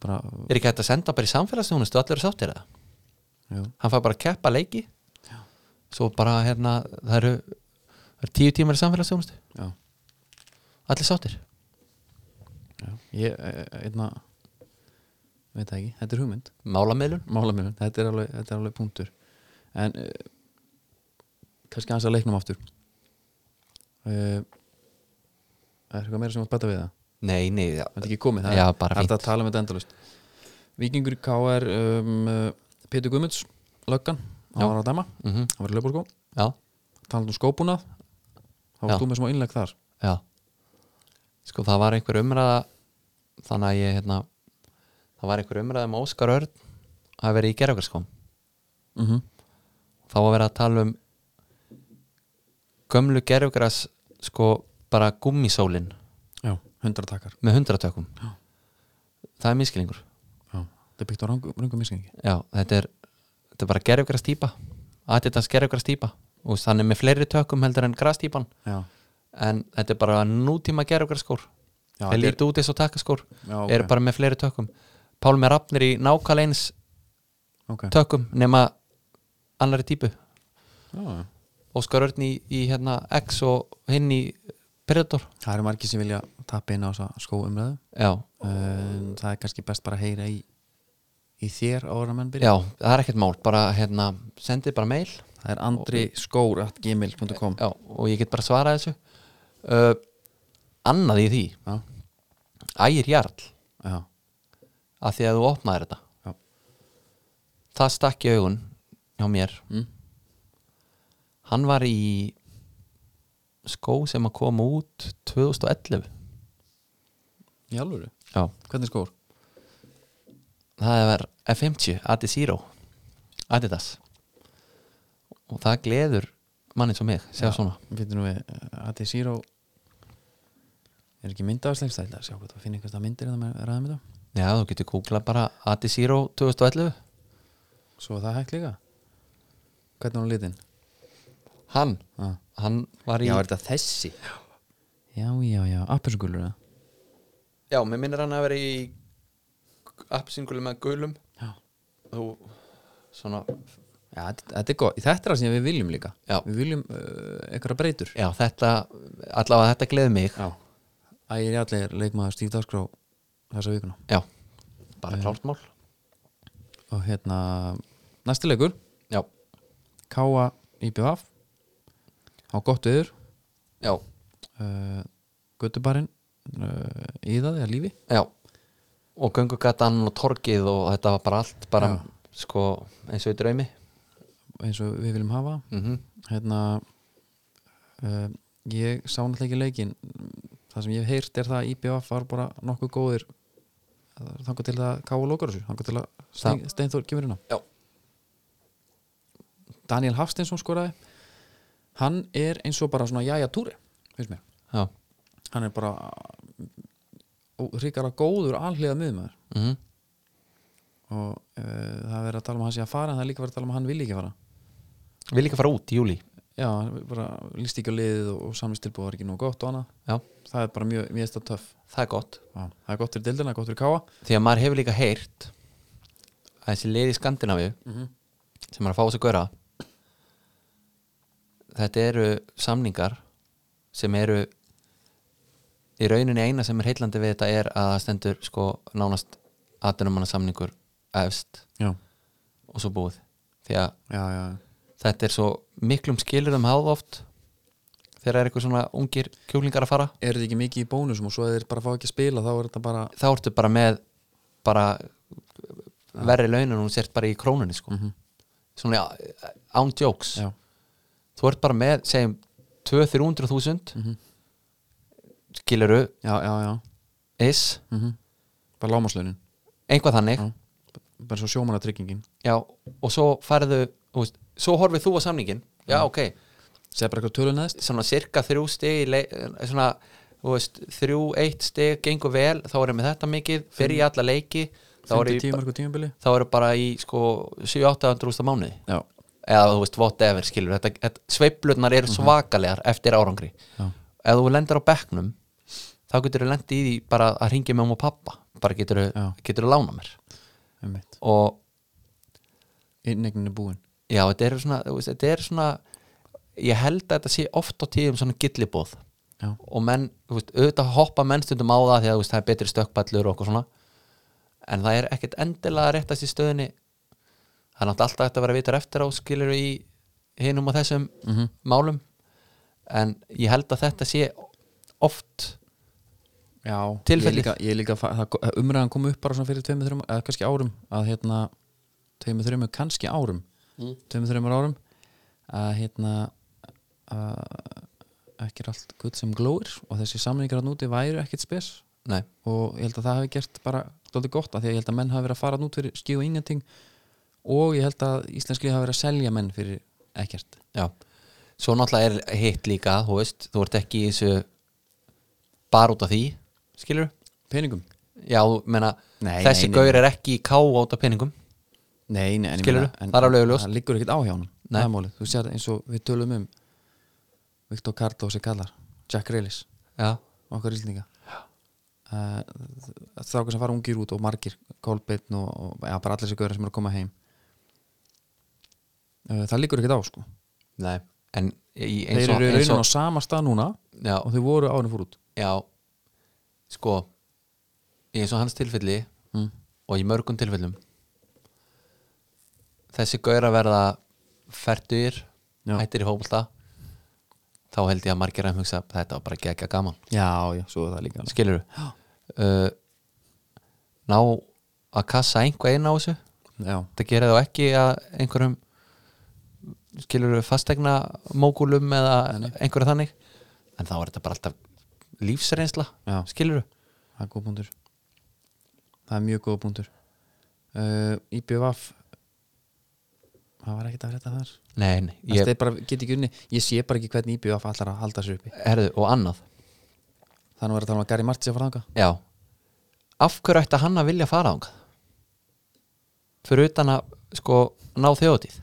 Speaker 1: bara
Speaker 2: er ekki hægt að senda bara í samfélagsnjónustu allir eru sáttir það
Speaker 1: já,
Speaker 2: hann fær bara að keppa leiki svo bara hérna það eru, það eru tíu tímar í samfélagsnjónustu
Speaker 1: já,
Speaker 2: allir sáttir
Speaker 1: já. ég, eh, einna veit það ekki, þetta er hugmynd
Speaker 2: málamiðlun
Speaker 1: málamiðlun, þetta er alveg, þetta er alveg punktur en uh, kannski aðeins að leiknum aftur uh, er eitthvað meira sem átt bæta við það
Speaker 2: nei, nei, já,
Speaker 1: þetta er ekki komið, það
Speaker 2: Já,
Speaker 1: er
Speaker 2: bara
Speaker 1: það er hægt að tala um þetta endalust Víkingur í KR um, uh, Pétur Guðmunds, löggan hann
Speaker 2: Já.
Speaker 1: var að dæma,
Speaker 2: mm
Speaker 1: hann var í lögbúrskó
Speaker 2: já,
Speaker 1: talað um skópuna þá
Speaker 2: Já.
Speaker 1: varst þú með smá innlegg þar
Speaker 2: já sko það var einhver umræða þannig að ég hérna það var einhver umræða um Óskar Örn að vera í gerðugarskom
Speaker 1: mm
Speaker 2: Mhm.
Speaker 1: -hmm.
Speaker 2: þá að vera að tala um gömlu gerðugras sko bara gummisólin
Speaker 1: já, hundra takkar
Speaker 2: með hundratökum
Speaker 1: Já.
Speaker 2: það er miskilingur
Speaker 1: já. það er byggt á rangum rangu miskengi
Speaker 2: Já, þetta er, þetta er bara gerðugras típa Adidas gerðugras típa og hann er með fleiri tökum heldur en grastýpan
Speaker 1: já,
Speaker 2: en þetta er bara nútíma gerðugras skór
Speaker 1: Já,
Speaker 2: þeir
Speaker 1: þetta er-
Speaker 2: lítu út eins og takkaskór
Speaker 1: já, ok,
Speaker 2: eru bara með fleiri tökum Pálmi Rafnir í nákaleins
Speaker 1: okay.
Speaker 2: tökum nema annari típu
Speaker 1: Já, já.
Speaker 2: Óskar Örn í, í hérna X og hinn í Predator
Speaker 1: það eru margir sem vilja tappa inn á þessa skóumræðu
Speaker 2: Já,
Speaker 1: um, það er kannski best bara að heyra í í þér ára menn byrja
Speaker 2: já, það er ekkert mál bara hérna, sendið bara mail
Speaker 1: það er andri skór at gmail.com
Speaker 2: já, og ég get bara svarað þessu uh, annað í því
Speaker 1: já,
Speaker 2: ægir jarl
Speaker 1: já,
Speaker 2: að því að þú opnaðir þetta
Speaker 1: Já.
Speaker 2: það stakk í augun hjá mér
Speaker 1: Mm.
Speaker 2: hann var í skó sem að koma út 2011
Speaker 1: í alvöru,
Speaker 2: já.
Speaker 1: hvernig skór?
Speaker 2: það var F50 Adizero Adidas og það gleður manni svo mig segja svona
Speaker 1: við finnum við eh, Adesiro er ekki mynd af slegst þetta, sjá hvað það finnir einhversta myndir eða með ræðum þetta,
Speaker 2: já, þú getur kúklað bara Adizero 2011
Speaker 1: svo er það hægt líka hvernig er hún litin?
Speaker 2: hann,
Speaker 1: Ah.
Speaker 2: hann var í
Speaker 1: þetta þessi? já, já, já, appinsugulur eða?
Speaker 2: Já, mér minnir hann að vera í appsingulum með gulum
Speaker 1: já,
Speaker 2: þú svona
Speaker 1: já þetta, þetta er góð, þetta er það sem við viljum líka
Speaker 2: Já.
Speaker 1: við viljum uh, einhverja breytur
Speaker 2: Já, þetta, allavega þetta gleði mig
Speaker 1: Já Ægir Jallir, leikmaður Stíf Dagskrá þessa vikuna
Speaker 2: Já, bara klártmál
Speaker 1: og hérna, næsti leikur
Speaker 2: Já,
Speaker 1: Káa IPVF á gott viður
Speaker 2: já,
Speaker 1: uh, Götubarinn uh, í það eða lífi
Speaker 2: já og göngugatan og torgið og þetta var bara allt bara
Speaker 1: Já.
Speaker 2: sko eins og í draumi Mhm.
Speaker 1: eins og við viljum hafa
Speaker 2: mm
Speaker 1: hérna uh, ég sá náttúrulega ekki leikin það sem ég hef heyrt er það að IBF var bara nokkuð góðir þangar til að káa lókar þessu þangar til að Stein- Steinþór kemur inn á
Speaker 2: Já.
Speaker 1: Daniel Hafstinsson skoraði hann er eins og bara svona jæja túri finnst mér
Speaker 2: já,
Speaker 1: hann er bara ríkara góður alhliða miðmaður
Speaker 2: mm
Speaker 1: og uh, það er verið að tala um að hann sé að fara en það er líka verið að tala um að hann vilji ekki fara
Speaker 2: við líka fara út í júli
Speaker 1: já, hann er bara líst ekki á liðið og, og samistilbúð var ekki nú gott og annað
Speaker 2: já,
Speaker 1: það er bara mjög, mjög stað töff
Speaker 2: það er gott
Speaker 1: já, það er gott fyrir dildina, gott fyrir káa
Speaker 2: því að maður hefur líka heyrt að þessi liði í Skandinavíu
Speaker 1: Mhm.
Speaker 2: sem er að fá þess að gera þetta eru samningar sem eru í rauninni eina sem er heillandi við þetta er að það stendur sko nánast aðdunumanna samningur efst
Speaker 1: já,
Speaker 2: og svo búið því að
Speaker 1: já, já,
Speaker 2: þetta er svo miklum skilurðum háð oft þegar er eitthvað svona ungir kjúlingar að fara
Speaker 1: er þetta ekki mikið í bónusum og svo að þeir bara fá ekki að spila þá er þetta bara
Speaker 2: þá ertu bara með bara verri launin og hún sért bara í krónunni sko. svona já, án jokes
Speaker 1: já,
Speaker 2: þú ert bara með, segjum 2-300 þúsund mm
Speaker 1: Mhm.
Speaker 2: skiluru,
Speaker 1: já, já, já.
Speaker 2: is
Speaker 1: Mm bara lámaslaunin
Speaker 2: einhvað þannig,
Speaker 1: Já. bara svo sjómanatryggingin
Speaker 2: já, og svo færðu þú veist, svo horfið þú á samningin já, ok,
Speaker 1: segja bara eitthvað tölun neðst
Speaker 2: svona cirka þrjú stig í leik- eh, svona, þú veist, þrjú, eitt stig gengur vel, þá erum við þetta mikið fyrir í alla leiki, þá
Speaker 1: 50
Speaker 2: erum
Speaker 1: tíu margur tímabili
Speaker 2: þá eru bara í sko 7-800 úrsta mánuði
Speaker 1: já,
Speaker 2: eða þú veist whatever skilur þetta, þetta, sveiflurnar eru svakalegar eftir árangri
Speaker 1: já,
Speaker 2: ef þú lendir á bekknum þá getur þú lendi í því bara að ringja með um og pappa bara getur
Speaker 1: Já.
Speaker 2: þú lána mér
Speaker 1: um
Speaker 2: og
Speaker 1: innegnin er búin
Speaker 2: já, þetta er svona, þú veist, þetta er svona ég held að þetta sé oft á tíðum svona gillibóð
Speaker 1: já,
Speaker 2: og menn, þú veist, auðvitað hoppa menn stundum á það því að þú veist, það er betri stökkballur og okkur svona en það er ekkert endilega réttast í stöðinni það er náttúrulega alltaf hægt að vera vitur eftir á skilur í hinum og þessum
Speaker 1: Mhm.
Speaker 2: málum en ég held að þetta sé oft
Speaker 1: já ég
Speaker 2: Tilfellið.
Speaker 1: líka, ég líka fa- það, ko- umræðan kom upp bara svona fyrir tveimur þreimur eða kannski árum að hérna tveimur þreimur kannski árum mm. tveimur þreimur árum að hérna að ekki er allt gull sem glóir og þessi samningar hann úti væru ekkit spes
Speaker 2: nei,
Speaker 1: og ég held að það hafi gert bara stóðið gott að því að ég held að menn hafi verið að fara þarna út fyrir skíu og ingenting og ég held að íslenski hafi verið að selja menn fyrir ekkert
Speaker 2: já svo náttúrulega er hitt líka, þú veist þú ert ekki í þessu bara út af því, skilur
Speaker 1: peningum
Speaker 2: já, þú meina,
Speaker 1: Nei,
Speaker 2: þessi
Speaker 1: nei, nei.
Speaker 2: gaur er ekki í ká át af peningum
Speaker 1: Nei, nei, en ég
Speaker 2: Skilurðu?
Speaker 1: meina- en
Speaker 2: Það er alveg augljóst.
Speaker 1: Það liggur ekkert á hjá honum
Speaker 2: Nei.
Speaker 1: Það er málið, þú sér eins og við tölum um Viktor Kardo sem kallar Jack Reilis,
Speaker 2: já,
Speaker 1: okkar íslninga uh, Strákur sem fara ungir út og margir Kolbeinn og, og ja, bara allir þessi gauðar sem eru að koma heim uh, Það liggur ekkert á sko
Speaker 2: nei en í- eins
Speaker 1: Þeir
Speaker 2: og,
Speaker 1: eru
Speaker 2: eins
Speaker 1: raunin á
Speaker 2: og
Speaker 1: sama stað núna
Speaker 2: já,
Speaker 1: og þau voru árið fór út
Speaker 2: já sko í eins og hans tilfelli
Speaker 1: mm.
Speaker 2: og í mörgum tilfellum þessi gaur að verða færtur,
Speaker 1: Já.
Speaker 2: hættir í hópulta þá held ég að margir að hugsa þetta var bara ekki ekki gaman
Speaker 1: Já, já, svo er það líka alveg.
Speaker 2: skilur uh, ná að kassa einhvað inn á þessu
Speaker 1: sko. Já,
Speaker 2: þetta gerir þá ekki að einhverjum skilur fastegna mókulum eða einhverju þannig en þá er þetta bara alltaf lífsreynsla
Speaker 1: Já.
Speaker 2: skilur
Speaker 1: það er góð búndur það er mjög góð búndur uh, IBVF það var ekkert að frétta þar
Speaker 2: nei, nei,
Speaker 1: ég...
Speaker 2: ég,
Speaker 1: það er bara, get ekki unni, ég sé bara ekki hvernig IBVF allar að halda sér uppi
Speaker 2: herðu, og annað
Speaker 1: þannig var að tala um að Gary Martins að fara þanga
Speaker 2: já, af hverju ætti hann að vilja fara þangað fyrir utan að sko ná þjóðtíð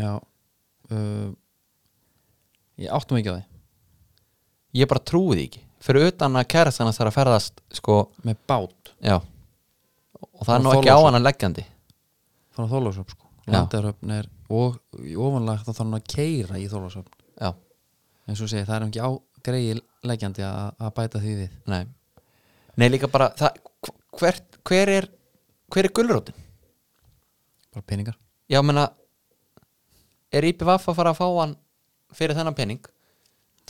Speaker 1: já uh, ég áttum ekki á því
Speaker 2: ég bara trúi því ekki, fyrir utan að kærast hann þarf að ferðast sko,
Speaker 1: með bát
Speaker 2: já og það er
Speaker 1: Hann
Speaker 2: nú ekki á
Speaker 1: Þorláksson.
Speaker 2: hann að leggjandi
Speaker 1: frá Þorlásöp sko
Speaker 2: Já.
Speaker 1: Landaröfn er, og í ofanlega þá þarf hann að keira í Þorlásöp
Speaker 2: já,
Speaker 1: eins og segi, það er ekki á greiði leggjandi að, að bæta því við
Speaker 2: nei nei líka bara, það, hver, hver er hver er gulrótin?
Speaker 1: bara peningar
Speaker 2: já, menna er IPVF að fara að fá hann fyrir þennan pening?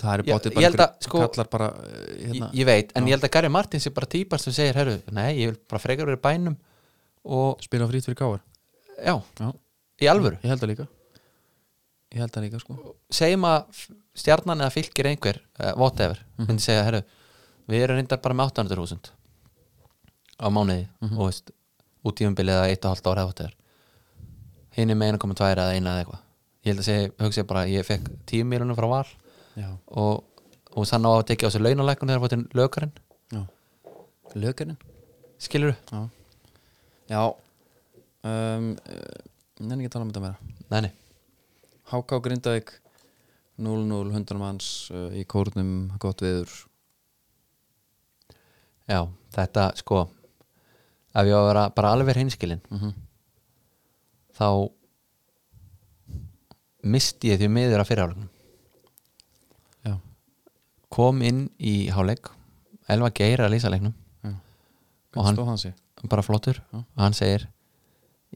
Speaker 1: það eru
Speaker 2: Já,
Speaker 1: bátið
Speaker 2: ég
Speaker 1: bara
Speaker 2: held að,
Speaker 1: einhverjir
Speaker 2: sko-
Speaker 1: kallar bara eh, hérna,
Speaker 2: ég, ég veit, en ég held að Gary Martins er bara típar sem segir, herru, nei, ég vil bara frekar verið bænum og
Speaker 1: spila frýtt fyrir káar
Speaker 2: já,
Speaker 1: Já.
Speaker 2: í alvöru
Speaker 1: ég held það líka ég held það líka sko
Speaker 2: segjum að stjarnan eða fylgir einhver uh, whatever, myndi segja herru, við erum reyndar bara með 800.000 á mánuði og veist, út í umbilið eða 1,5 ára eða whatever hinn er með 1,2 eða 1 eða eitthvað ég held að segja, hugsa ég bara, ég fekk 10 miljonum frá val
Speaker 1: já,
Speaker 2: og, og sann á að tekja á sig launalækun þegar fóttin lökarinn,
Speaker 1: já lögurinn
Speaker 2: skilur du?
Speaker 1: já, já. Um, uh, nenni ekki að tala um þetta meira
Speaker 2: Nei, nei,
Speaker 1: HK Grindavík 0-0, 100 manns uh, í kórnum, gott veður
Speaker 2: já, þetta sko ef ég á að vera bara alveg hinskilin
Speaker 1: mm -hmm.
Speaker 2: þá misti ég því miður að fyrirhálegnum
Speaker 1: já,
Speaker 2: kom inn í háleik Elva Geir að lýsa leiknum
Speaker 1: já
Speaker 2: Og
Speaker 1: hvernig
Speaker 2: hann-
Speaker 1: stóð hann sig?
Speaker 2: bara flottur,
Speaker 1: Já.
Speaker 2: hann segir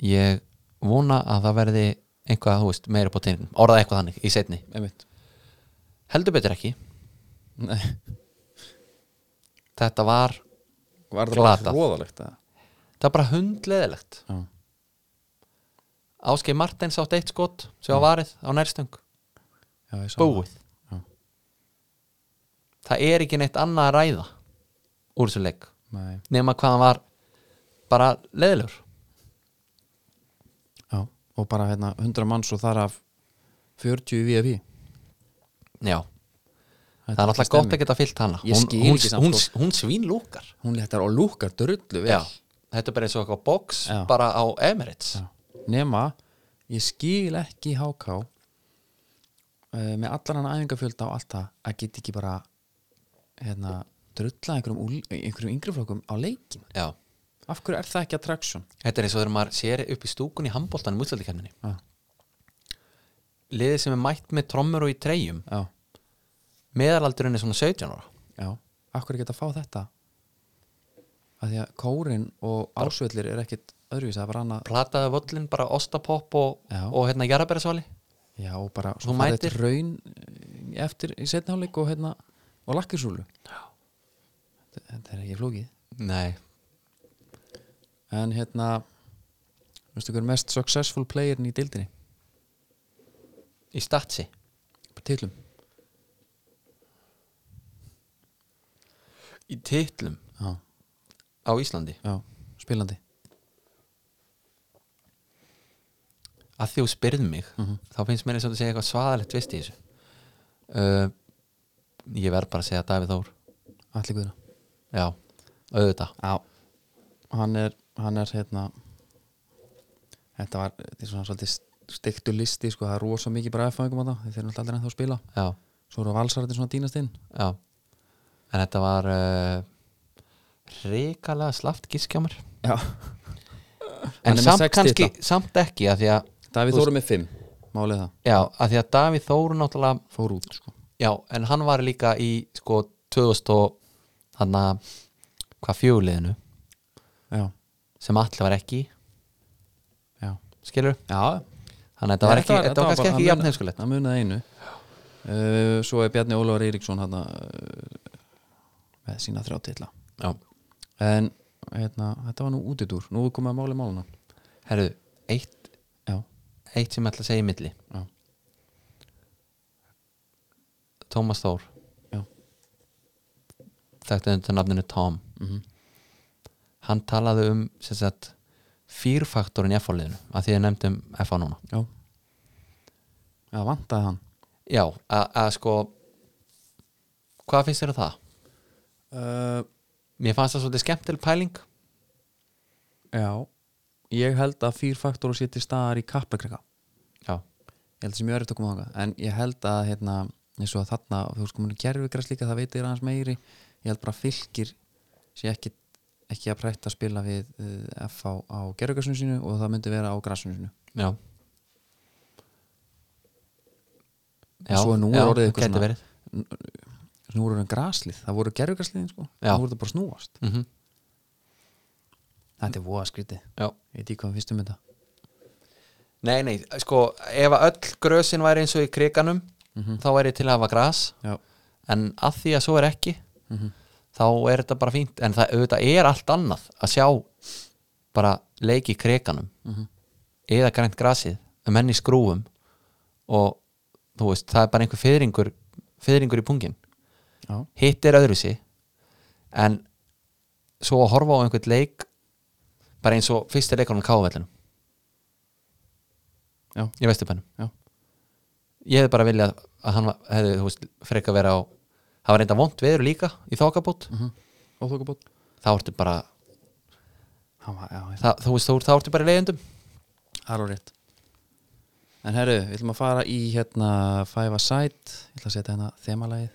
Speaker 2: ég vona að það verði eitthvað, þú veist, meira på teininum orðaði eitthvað þannig í setni,
Speaker 1: einmitt
Speaker 2: heldur betur ekki
Speaker 1: Nei,
Speaker 2: þetta var,
Speaker 1: var það bara
Speaker 2: Glatað.
Speaker 1: hróðalegt eða?
Speaker 2: það var bara hundleðilegt
Speaker 1: já,
Speaker 2: Áskei Martins átt eitt skot sem var varið á nærstöng,
Speaker 1: já, ég sá
Speaker 2: búið
Speaker 1: það. já,
Speaker 2: það er ekki neitt annað að ræða úr þessu leik
Speaker 1: nei,
Speaker 2: nema hvað hann var bara leðilegur
Speaker 1: já og bara hérna 100 manns og þar af 40 VIP
Speaker 2: já, það er alltaf gott að geta fyllt hana
Speaker 1: Ég
Speaker 2: hún,
Speaker 1: skil
Speaker 2: hún,
Speaker 1: ekki samt sko.
Speaker 2: hún, hún svínlúkar
Speaker 1: hún léttar og lúkar drullu vel
Speaker 2: já, þetta er bara eins og eitthvað box
Speaker 1: Já.
Speaker 2: bara á Emirates
Speaker 1: Já. nema ég skil ekki HK uh, með allan hann æfingafjölda og allt það að geta ekki bara hérna, drulla einhverjum, úl, einhverjum yngri flokkum á leikin
Speaker 2: já,
Speaker 1: af hverju er það ekki attraction
Speaker 2: þetta er eins og þegar maður sér upp í stúkunni í handbóltanum útlældikefninni
Speaker 1: já,
Speaker 2: liðið sem er mætt með trommur og í treyjum
Speaker 1: já,
Speaker 2: meðalaldurinn er svona 17 ára
Speaker 1: já af hverju geta að fá þetta að því að kórin og ásvellir er ekkit öðruvís það er bara annað
Speaker 2: plataði völlin bara ostapopp og,
Speaker 1: Já.
Speaker 2: og hérna jarabærasvali
Speaker 1: já, og bara
Speaker 2: Þú
Speaker 1: farið
Speaker 2: mætir-
Speaker 1: raun eh, eftir í setnáleik og hérna og lakkirsúlu þetta þetta er ekki flókið
Speaker 2: nei,
Speaker 1: En hérna Veistu hver er mest successful playerin í dildinni?
Speaker 2: í statsi
Speaker 1: Tilum
Speaker 2: í titlum
Speaker 1: Já,
Speaker 2: á Íslandi
Speaker 1: já, spilandi
Speaker 2: að því þú spyrð mig
Speaker 1: Mhm.
Speaker 2: þá finnst mér eins og þú segja eitthvað svaðalegt vist í þessu uh, ég verð bara að segja Davíð Þór
Speaker 1: Allir guðna
Speaker 2: já, auðvitað
Speaker 1: Já Hann er, hann er hérna Þetta var, þetta er svona svolítið stiktu listi, sko, það er rosa mikið bara aðfæðingum á það, þeir eru alltaf aldrei ennþá að spila
Speaker 2: já,
Speaker 1: Svo eru valsarðin svona dýnast inn
Speaker 2: já en þetta var uh, reikalega slaft gískjámar
Speaker 1: Já, Hann
Speaker 2: en
Speaker 1: er með
Speaker 2: samt
Speaker 1: sex
Speaker 2: kannski,
Speaker 1: titla.
Speaker 2: samt ekki að því að,
Speaker 1: Davíð Þóru með fimm Málið það,
Speaker 2: já, að því að Davíð Þór náttúrulega,
Speaker 1: fór út, sko
Speaker 2: já, en hann var líka í sko 2000 og hann að hvað fjöguleginu
Speaker 1: Já,
Speaker 2: sem allir var ekki í,
Speaker 1: já
Speaker 2: skilur,
Speaker 1: Já,
Speaker 2: þannig að þetta var
Speaker 1: Nei,
Speaker 2: ekki þetta var kannski
Speaker 1: bara-
Speaker 2: ekki
Speaker 1: það
Speaker 2: jafn
Speaker 1: munaði-
Speaker 2: heimskulegt
Speaker 1: Það munaði einu uh, Svo er Bjarni Ólafur Eiríksson hana, uh, með sína þrjá titla
Speaker 2: já,
Speaker 1: En hérna, þetta var nú útidúr Nú er komið að máli máluna
Speaker 2: herru, eitt
Speaker 1: Já,
Speaker 2: eitt sem ég ætla að segja í milli
Speaker 1: já,
Speaker 2: Tómas Þór,
Speaker 1: já
Speaker 2: þetta er undir nafninu Tom
Speaker 1: mm
Speaker 2: hann talaði um sem sagt fýrfaktorin í F-áliðinu að því að nefndum F-á núna
Speaker 1: Já Já, vantaði hann
Speaker 2: já, að að sko hvað finnst þér að það?
Speaker 1: uh,
Speaker 2: mér fannst það svolítið skemmtileg pæling
Speaker 1: Já Ég held að fýrfaktor og sétti staðar í kappakrika
Speaker 2: já,
Speaker 1: Ég held að sem ég er eftir að koma þangað En ég held að hérna, eins og að þarna þú veist kominu gerfigræs líka, það veit ég aðeins meiri Ég held bara að fylgir sé ekki, ekki að prætta að spila við uh, FH á gerfigræsinu sínu og það myndi vera á græsinu sínu
Speaker 2: já
Speaker 1: Svo nú er orðið eitthvað
Speaker 2: gæti
Speaker 1: svona-
Speaker 2: verið.
Speaker 1: Nú voru hann græslið, það voru gerfigræsliðin sko
Speaker 2: Já.
Speaker 1: Nú voru það bara að snúast
Speaker 2: Mhm.
Speaker 1: Þetta er voða skrítið,
Speaker 2: já.
Speaker 1: ég veit ekki hvað fyrstum þetta
Speaker 2: nei, nei, sko ef að öll grösin væri eins og í kriganum
Speaker 1: Mhm.
Speaker 2: þá væri ég til að hafa gras
Speaker 1: Já,
Speaker 2: en að því að svo er ekki
Speaker 1: Mhm.
Speaker 2: þá er þetta bara fínt en það auðvitað er allt annað að sjá bara leik í krekanum
Speaker 1: Mhm.
Speaker 2: um eða grænt grasið, menn í skrúfum og þú veist, það er bara einhver fyrringur fyrringur í pungin
Speaker 1: já,
Speaker 2: hitt er öðruvísi en svo að horfa á einhvern leik bara eins og fyrsti leikunum káfellinu
Speaker 1: Já.
Speaker 2: í vesturbænum
Speaker 1: Já.
Speaker 2: ég hefði bara viljað að hann var- hefði þú veist, frekar vera á það var reynda vond veður líka í þokkabót
Speaker 1: Mhm. og þokkabót
Speaker 2: þá ertu bara
Speaker 1: hann var, já, já,
Speaker 2: það, þú veist, þú, þá ertu bara í leiðundum
Speaker 1: það er á rétt en herru, við ætlum að fara í hérna Five a Sight, ég ætla að setja hérna þemalægið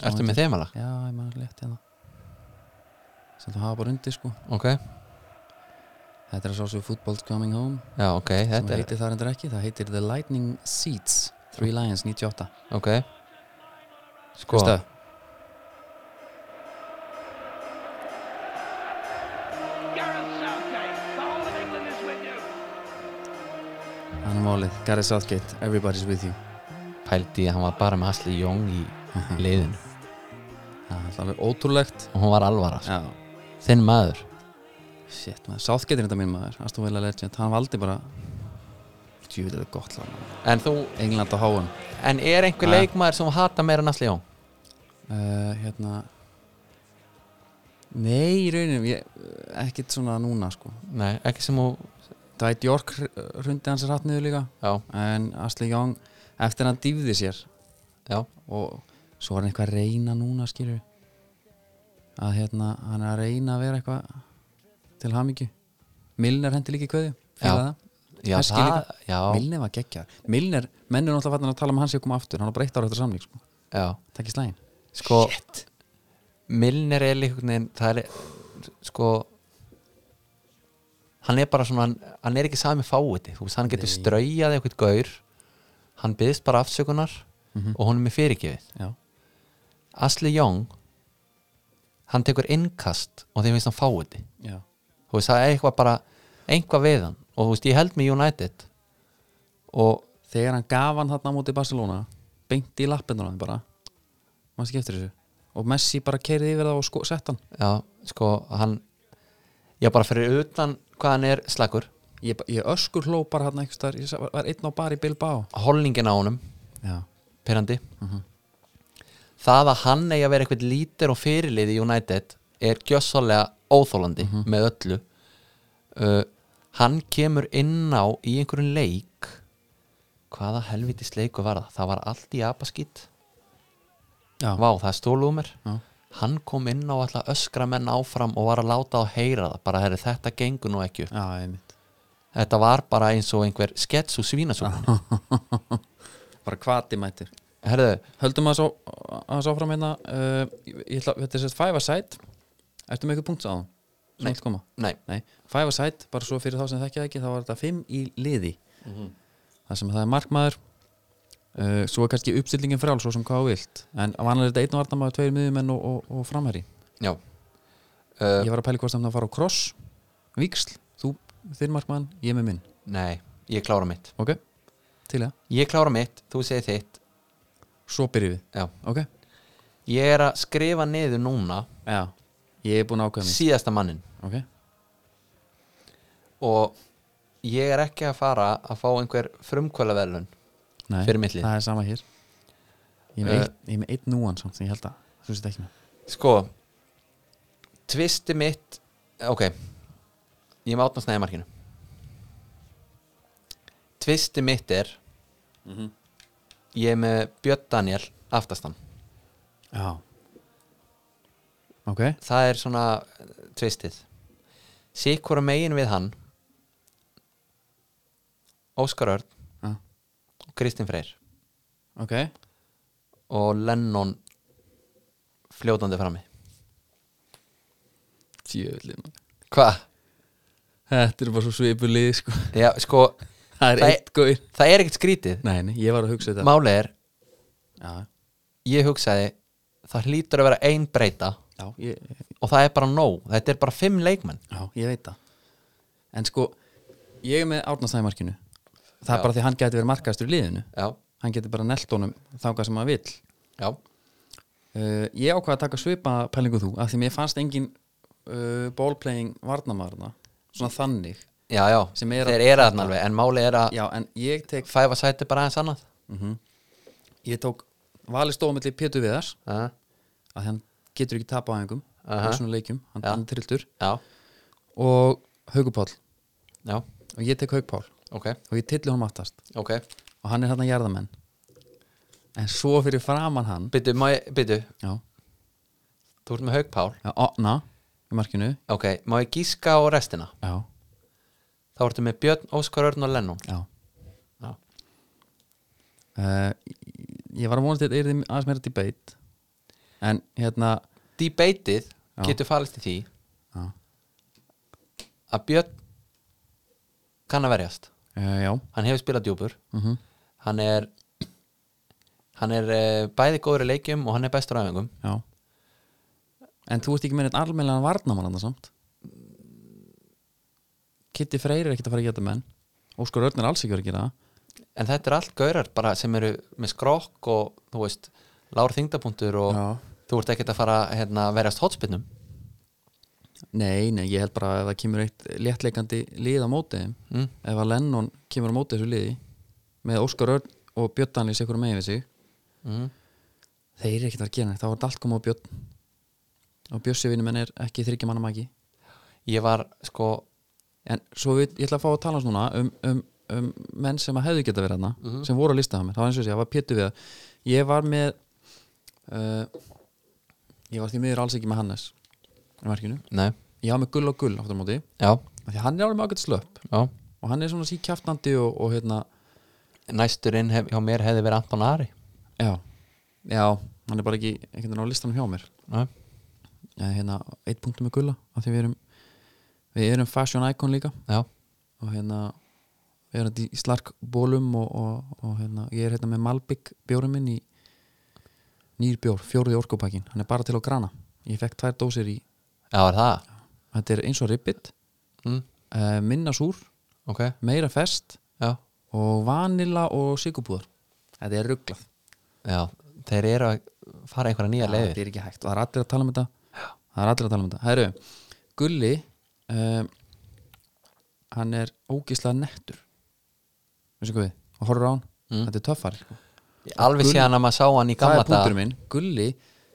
Speaker 2: ertu með þemalag
Speaker 1: já, ég maður létt hérna sem þú hafa bara undir sko
Speaker 2: ok,
Speaker 1: þetta er að sá svo Football's Coming Home
Speaker 2: já ok,
Speaker 1: sem
Speaker 2: þetta er
Speaker 1: heitir þar endur ekki, það heitir The Lightning Seeds Three Lions 98
Speaker 2: ok sko,
Speaker 1: Hlustaðu.
Speaker 3: Gareth Southgate, the whole of England is with you.
Speaker 1: Þannig málið, Gareth Southgate, everybody's with you
Speaker 2: pældi að hann var bara með Asli Jóng í leiðinu
Speaker 1: Það er alltaf alveg ótrúlegt
Speaker 2: og hún var alvara sko.
Speaker 1: Já,
Speaker 2: þinn maður
Speaker 1: shit maður, Southgate er þetta minn maður Aston Villa Legend, hann valdi bara Djúvilega gott lag maður.
Speaker 2: en, þú,
Speaker 1: England á háum
Speaker 2: en er einhver
Speaker 1: Ha?
Speaker 2: leikmaður sem þú hata meira en Asli Jóng?
Speaker 1: uh, Hérna Nei, í rauninum ég, Ekkit svona núna sko
Speaker 2: nei, ekki sem hún
Speaker 1: Dwight York hr- hrundi hans rætt niður líka
Speaker 2: já,
Speaker 1: En Asli Young, eftir hann dýfði sér
Speaker 2: já,
Speaker 1: og svo er hann eitthvað að reyna núna skilur að hérna, hann er að reyna að vera eitthvað til hamingju Milner hendi líka í kveðju
Speaker 2: Já. já,
Speaker 1: Eski
Speaker 2: það, já,
Speaker 1: Milner var geggjar Milner, menn er náttúrulega að tala um að hann sé að koma aftur hann er breytt ára eftir samling sko.
Speaker 2: já.
Speaker 1: takk í slægin
Speaker 2: sko Milner er líkvögnin það er, sko hann er bara svona hann, hann er ekki sami fáiði, þú veist, hann getur straujað eitthvað gaur, hann byðst bara afsökunar og hún er með fyrirgefið
Speaker 1: já,
Speaker 2: Asli Young hann tekur innkast og þeim finnst hann fáiði
Speaker 1: já,
Speaker 2: þú veist það er eitthvað bara einhvað við hann og þú veist ég held með United og
Speaker 1: þegar hann gaf hann þarna á móti Barcelona beint í lappinu hann bara maður skiptir þessu og Messi bara keirði yfir það og sko, sett hann
Speaker 2: já sko hann já bara fyrir utan hvað hann er slagur
Speaker 1: ég, ég öskur hló bara hann einhvers þar ég sa- var einn á bar í Bilbao
Speaker 2: holningin á honum
Speaker 1: já,
Speaker 2: pyrrandi það að hann eigi að vera eitthvað lítir og fyrirlið í United er gjössalega óþólandi
Speaker 1: Mhm.
Speaker 2: með öllu uh, hann kemur inn á í einhverjum leik hvaða helvitis leiku var það það var allt í apaskýtt
Speaker 1: já,
Speaker 2: Vá, það er stólumir
Speaker 1: Já.
Speaker 2: Hann kom inn á alltaf öskra menn áfram og var að láta á heyra það bara herri, þetta gengur nú ekki upp
Speaker 1: já, einmitt
Speaker 2: Þetta var bara eins og einhver skets og svínasúkunni
Speaker 1: bara kvati mættir
Speaker 2: Herðu,
Speaker 1: höldum að það áfram hérna uh, ég, ég ætla, þetta er sérst five a side ertu með eitthvað punkt sáðan?
Speaker 2: Nei.
Speaker 1: Nei. Koma.
Speaker 2: nei,
Speaker 1: Nei, five a side, bara svo fyrir þá sem þekkja það ekki þá var þetta fimm í liði Mhm. það sem það er markmaður uh, svo er kannski uppstillingin frál svo sem hvað þú vilt en vanlega er þetta einn og vartamaður, tveir miðjumenn og, og, og framherri
Speaker 2: já uh,
Speaker 1: ég var að pæli hvort þannig að fara á kross víksl, þú, þinn markmann, ég með minn
Speaker 2: Nei, ég klára mitt
Speaker 1: ok, til það,
Speaker 2: Ég klára mitt, þú segir þitt
Speaker 1: svo byrjum við
Speaker 2: já.
Speaker 1: ok,
Speaker 2: Ég er að skrifa niður núna
Speaker 1: já, ég er búin að ákveða mig
Speaker 2: síðasta mannin
Speaker 1: ok,
Speaker 2: og ég er ekki að fara að fá einhver frumkvöla velun
Speaker 1: Nei,
Speaker 2: fyrir mitt lið.
Speaker 1: það er sama hér ég er
Speaker 2: Eh.
Speaker 1: með, eitt, ég er með eitt núan samt sem ég held að þú veist ekki með
Speaker 2: Sko Tvisti mitt Ok Ég er með átna snæði markinu Tvisti mitt er Ég er með Björn Daniel Aftastan
Speaker 1: já ok,
Speaker 2: Það er svona eh, tvistið Sikur megin við hann Óskar Örn
Speaker 1: já.
Speaker 2: og Kristinn Freyr
Speaker 1: ok
Speaker 2: og Lennon fljótandi frammi
Speaker 1: Tjöfli,
Speaker 2: Hvað?
Speaker 1: þetta er bara svo svipulið sko.
Speaker 2: Já, sko,
Speaker 1: það er
Speaker 2: Það-
Speaker 1: eitt góður
Speaker 2: það er ekkert skrítið
Speaker 1: nei, nei, ég var að hugsa þetta
Speaker 2: Máli er
Speaker 1: já,
Speaker 2: ég hugsaði það hlýtur að vera ein breyta
Speaker 1: já, ég,
Speaker 2: og það er bara nóg, þetta er bara fimm leikmenn
Speaker 1: já, ég veit það en sko, ég er með árnastæðimarkinu það
Speaker 2: Já.
Speaker 1: er bara því að hann geti verið markaðastur í liðinu
Speaker 2: já,
Speaker 1: hann geti bara nelt honum þangað sem hann vill
Speaker 2: já,
Speaker 1: Uh, ég ákvað að taka svipa pælingu þú af því mér fannst engin uh, ballplaying varnamarna svona þannig
Speaker 2: já, já
Speaker 1: Sem er að-
Speaker 2: þeir eru þarna alveg en máli er að
Speaker 1: já en ég tek
Speaker 2: fæfa sæti bara aðeins annað
Speaker 1: mm -hmm. ég tók vali stóðumilli Pétur Viðars
Speaker 2: Aha,
Speaker 1: að hann getur ekki tapa á einhverjum
Speaker 2: Aha.
Speaker 1: svona leikjum, hann,
Speaker 2: Já.
Speaker 1: hann er trilltur
Speaker 2: já,
Speaker 1: og Haugupál
Speaker 2: já,
Speaker 1: og ég tek Haugpál
Speaker 2: ok,
Speaker 1: og ég tilli honum aftast
Speaker 2: ok
Speaker 1: og hann er hann að jarðamenn en svo fyrir framan hann
Speaker 2: Byttu, má ég, byttu,
Speaker 1: já,
Speaker 2: þú ert með Hauk Pál
Speaker 1: að opna í markinu
Speaker 2: Ok, má ég gíska á restina
Speaker 1: já,
Speaker 2: Þá ertu með Björn, Óskar Örn og Lennon
Speaker 1: já
Speaker 2: Já,
Speaker 1: uh, ég var að vonast að þetta er aðeins meira debate en hérna
Speaker 2: Debatið
Speaker 1: Já.
Speaker 2: getur falist í því
Speaker 1: já,
Speaker 2: að Björn kann að verjast
Speaker 1: uh, já.
Speaker 2: Hann hefur spilað djúpur
Speaker 1: Mm
Speaker 2: Hann er Hann er eh, bæði góður í leikjum og hann er bestur á æfingum
Speaker 1: já en þú ert ekki með neitt almennlega varnamann annað samt Kitty Freyr er ekkert að fara að geta menn Óskar Örn er alls ekki að fara að gera það
Speaker 2: En þetta er allt gaurar bara sem eru með skrokk og þú veist, lár þingdapunktur og
Speaker 1: Já.
Speaker 2: þú ert ekkert að fara hérna, að verjast hotspinnum
Speaker 1: Nei, nei, ég held bara að ef það kemur eitt léttleikandi lið á móti þeim
Speaker 2: mm.
Speaker 1: ef að Lennon kemur á móti þessu liði með Óskar Örn og Björn Danlís ykkur megin við sig
Speaker 2: Mm.
Speaker 1: þeir eru ekkert að fara að gera neitt, þá er þetta allt koma á Björn og Björnsjöfinu menn er ekki þryggja manna maki
Speaker 2: Ég var sko
Speaker 1: en svo við, ég ætla að fá að tala hans núna um, um, um menn sem að hefðu geta verið hana sem voru að lista það mér, það var eins og þessi, það var pétu við það ég var með uh, ég var því miður alls ekki með Hannes í markinu,
Speaker 2: Nei,
Speaker 1: ég var með Gull og Gull áttur á móti,
Speaker 2: já,
Speaker 1: af því að hann er alveg með ágætt slöpp
Speaker 2: já
Speaker 1: og hann er svona síkjaftandi og, og hérna,
Speaker 2: næsturinn hef, hjá mér hefði verið Anton Ari
Speaker 1: já já, hann er bara ekki, ekki hérna á listanum hjá mér
Speaker 2: Nei.
Speaker 1: ég, hérna, eitt punktum með Gulla af því við erum, við erum fashion icon líka
Speaker 2: já,
Speaker 1: og hérna við erum þetta í slarkbólum og, og, og hérna, ég er hérna með Malbygg bjórum minn í nýr bjór, fjóruði orkupakkin, hann er bara til á grana ég fekk tvær dósir í,
Speaker 2: já er það
Speaker 1: þetta er eins og ribbit
Speaker 2: mm.
Speaker 1: uh, minna súr,
Speaker 2: ok,
Speaker 1: meira fest
Speaker 2: já,
Speaker 1: og vanilla og sigubúðar þetta er rugglað,
Speaker 2: já þeir eru að fara einhverja nýja leiðir
Speaker 1: þetta er ekki hægt það er allir að tala um þetta það er allir að tala um þetta, hæru Gulli um, hann er ógislega nettur veistu hvað við, og horfur á hann
Speaker 2: Mm.
Speaker 1: þetta er töffari sko.
Speaker 2: alveg
Speaker 1: Gull-
Speaker 2: síðan að maður sá hann í
Speaker 1: það
Speaker 2: gamla
Speaker 1: er punktur minn, Gulli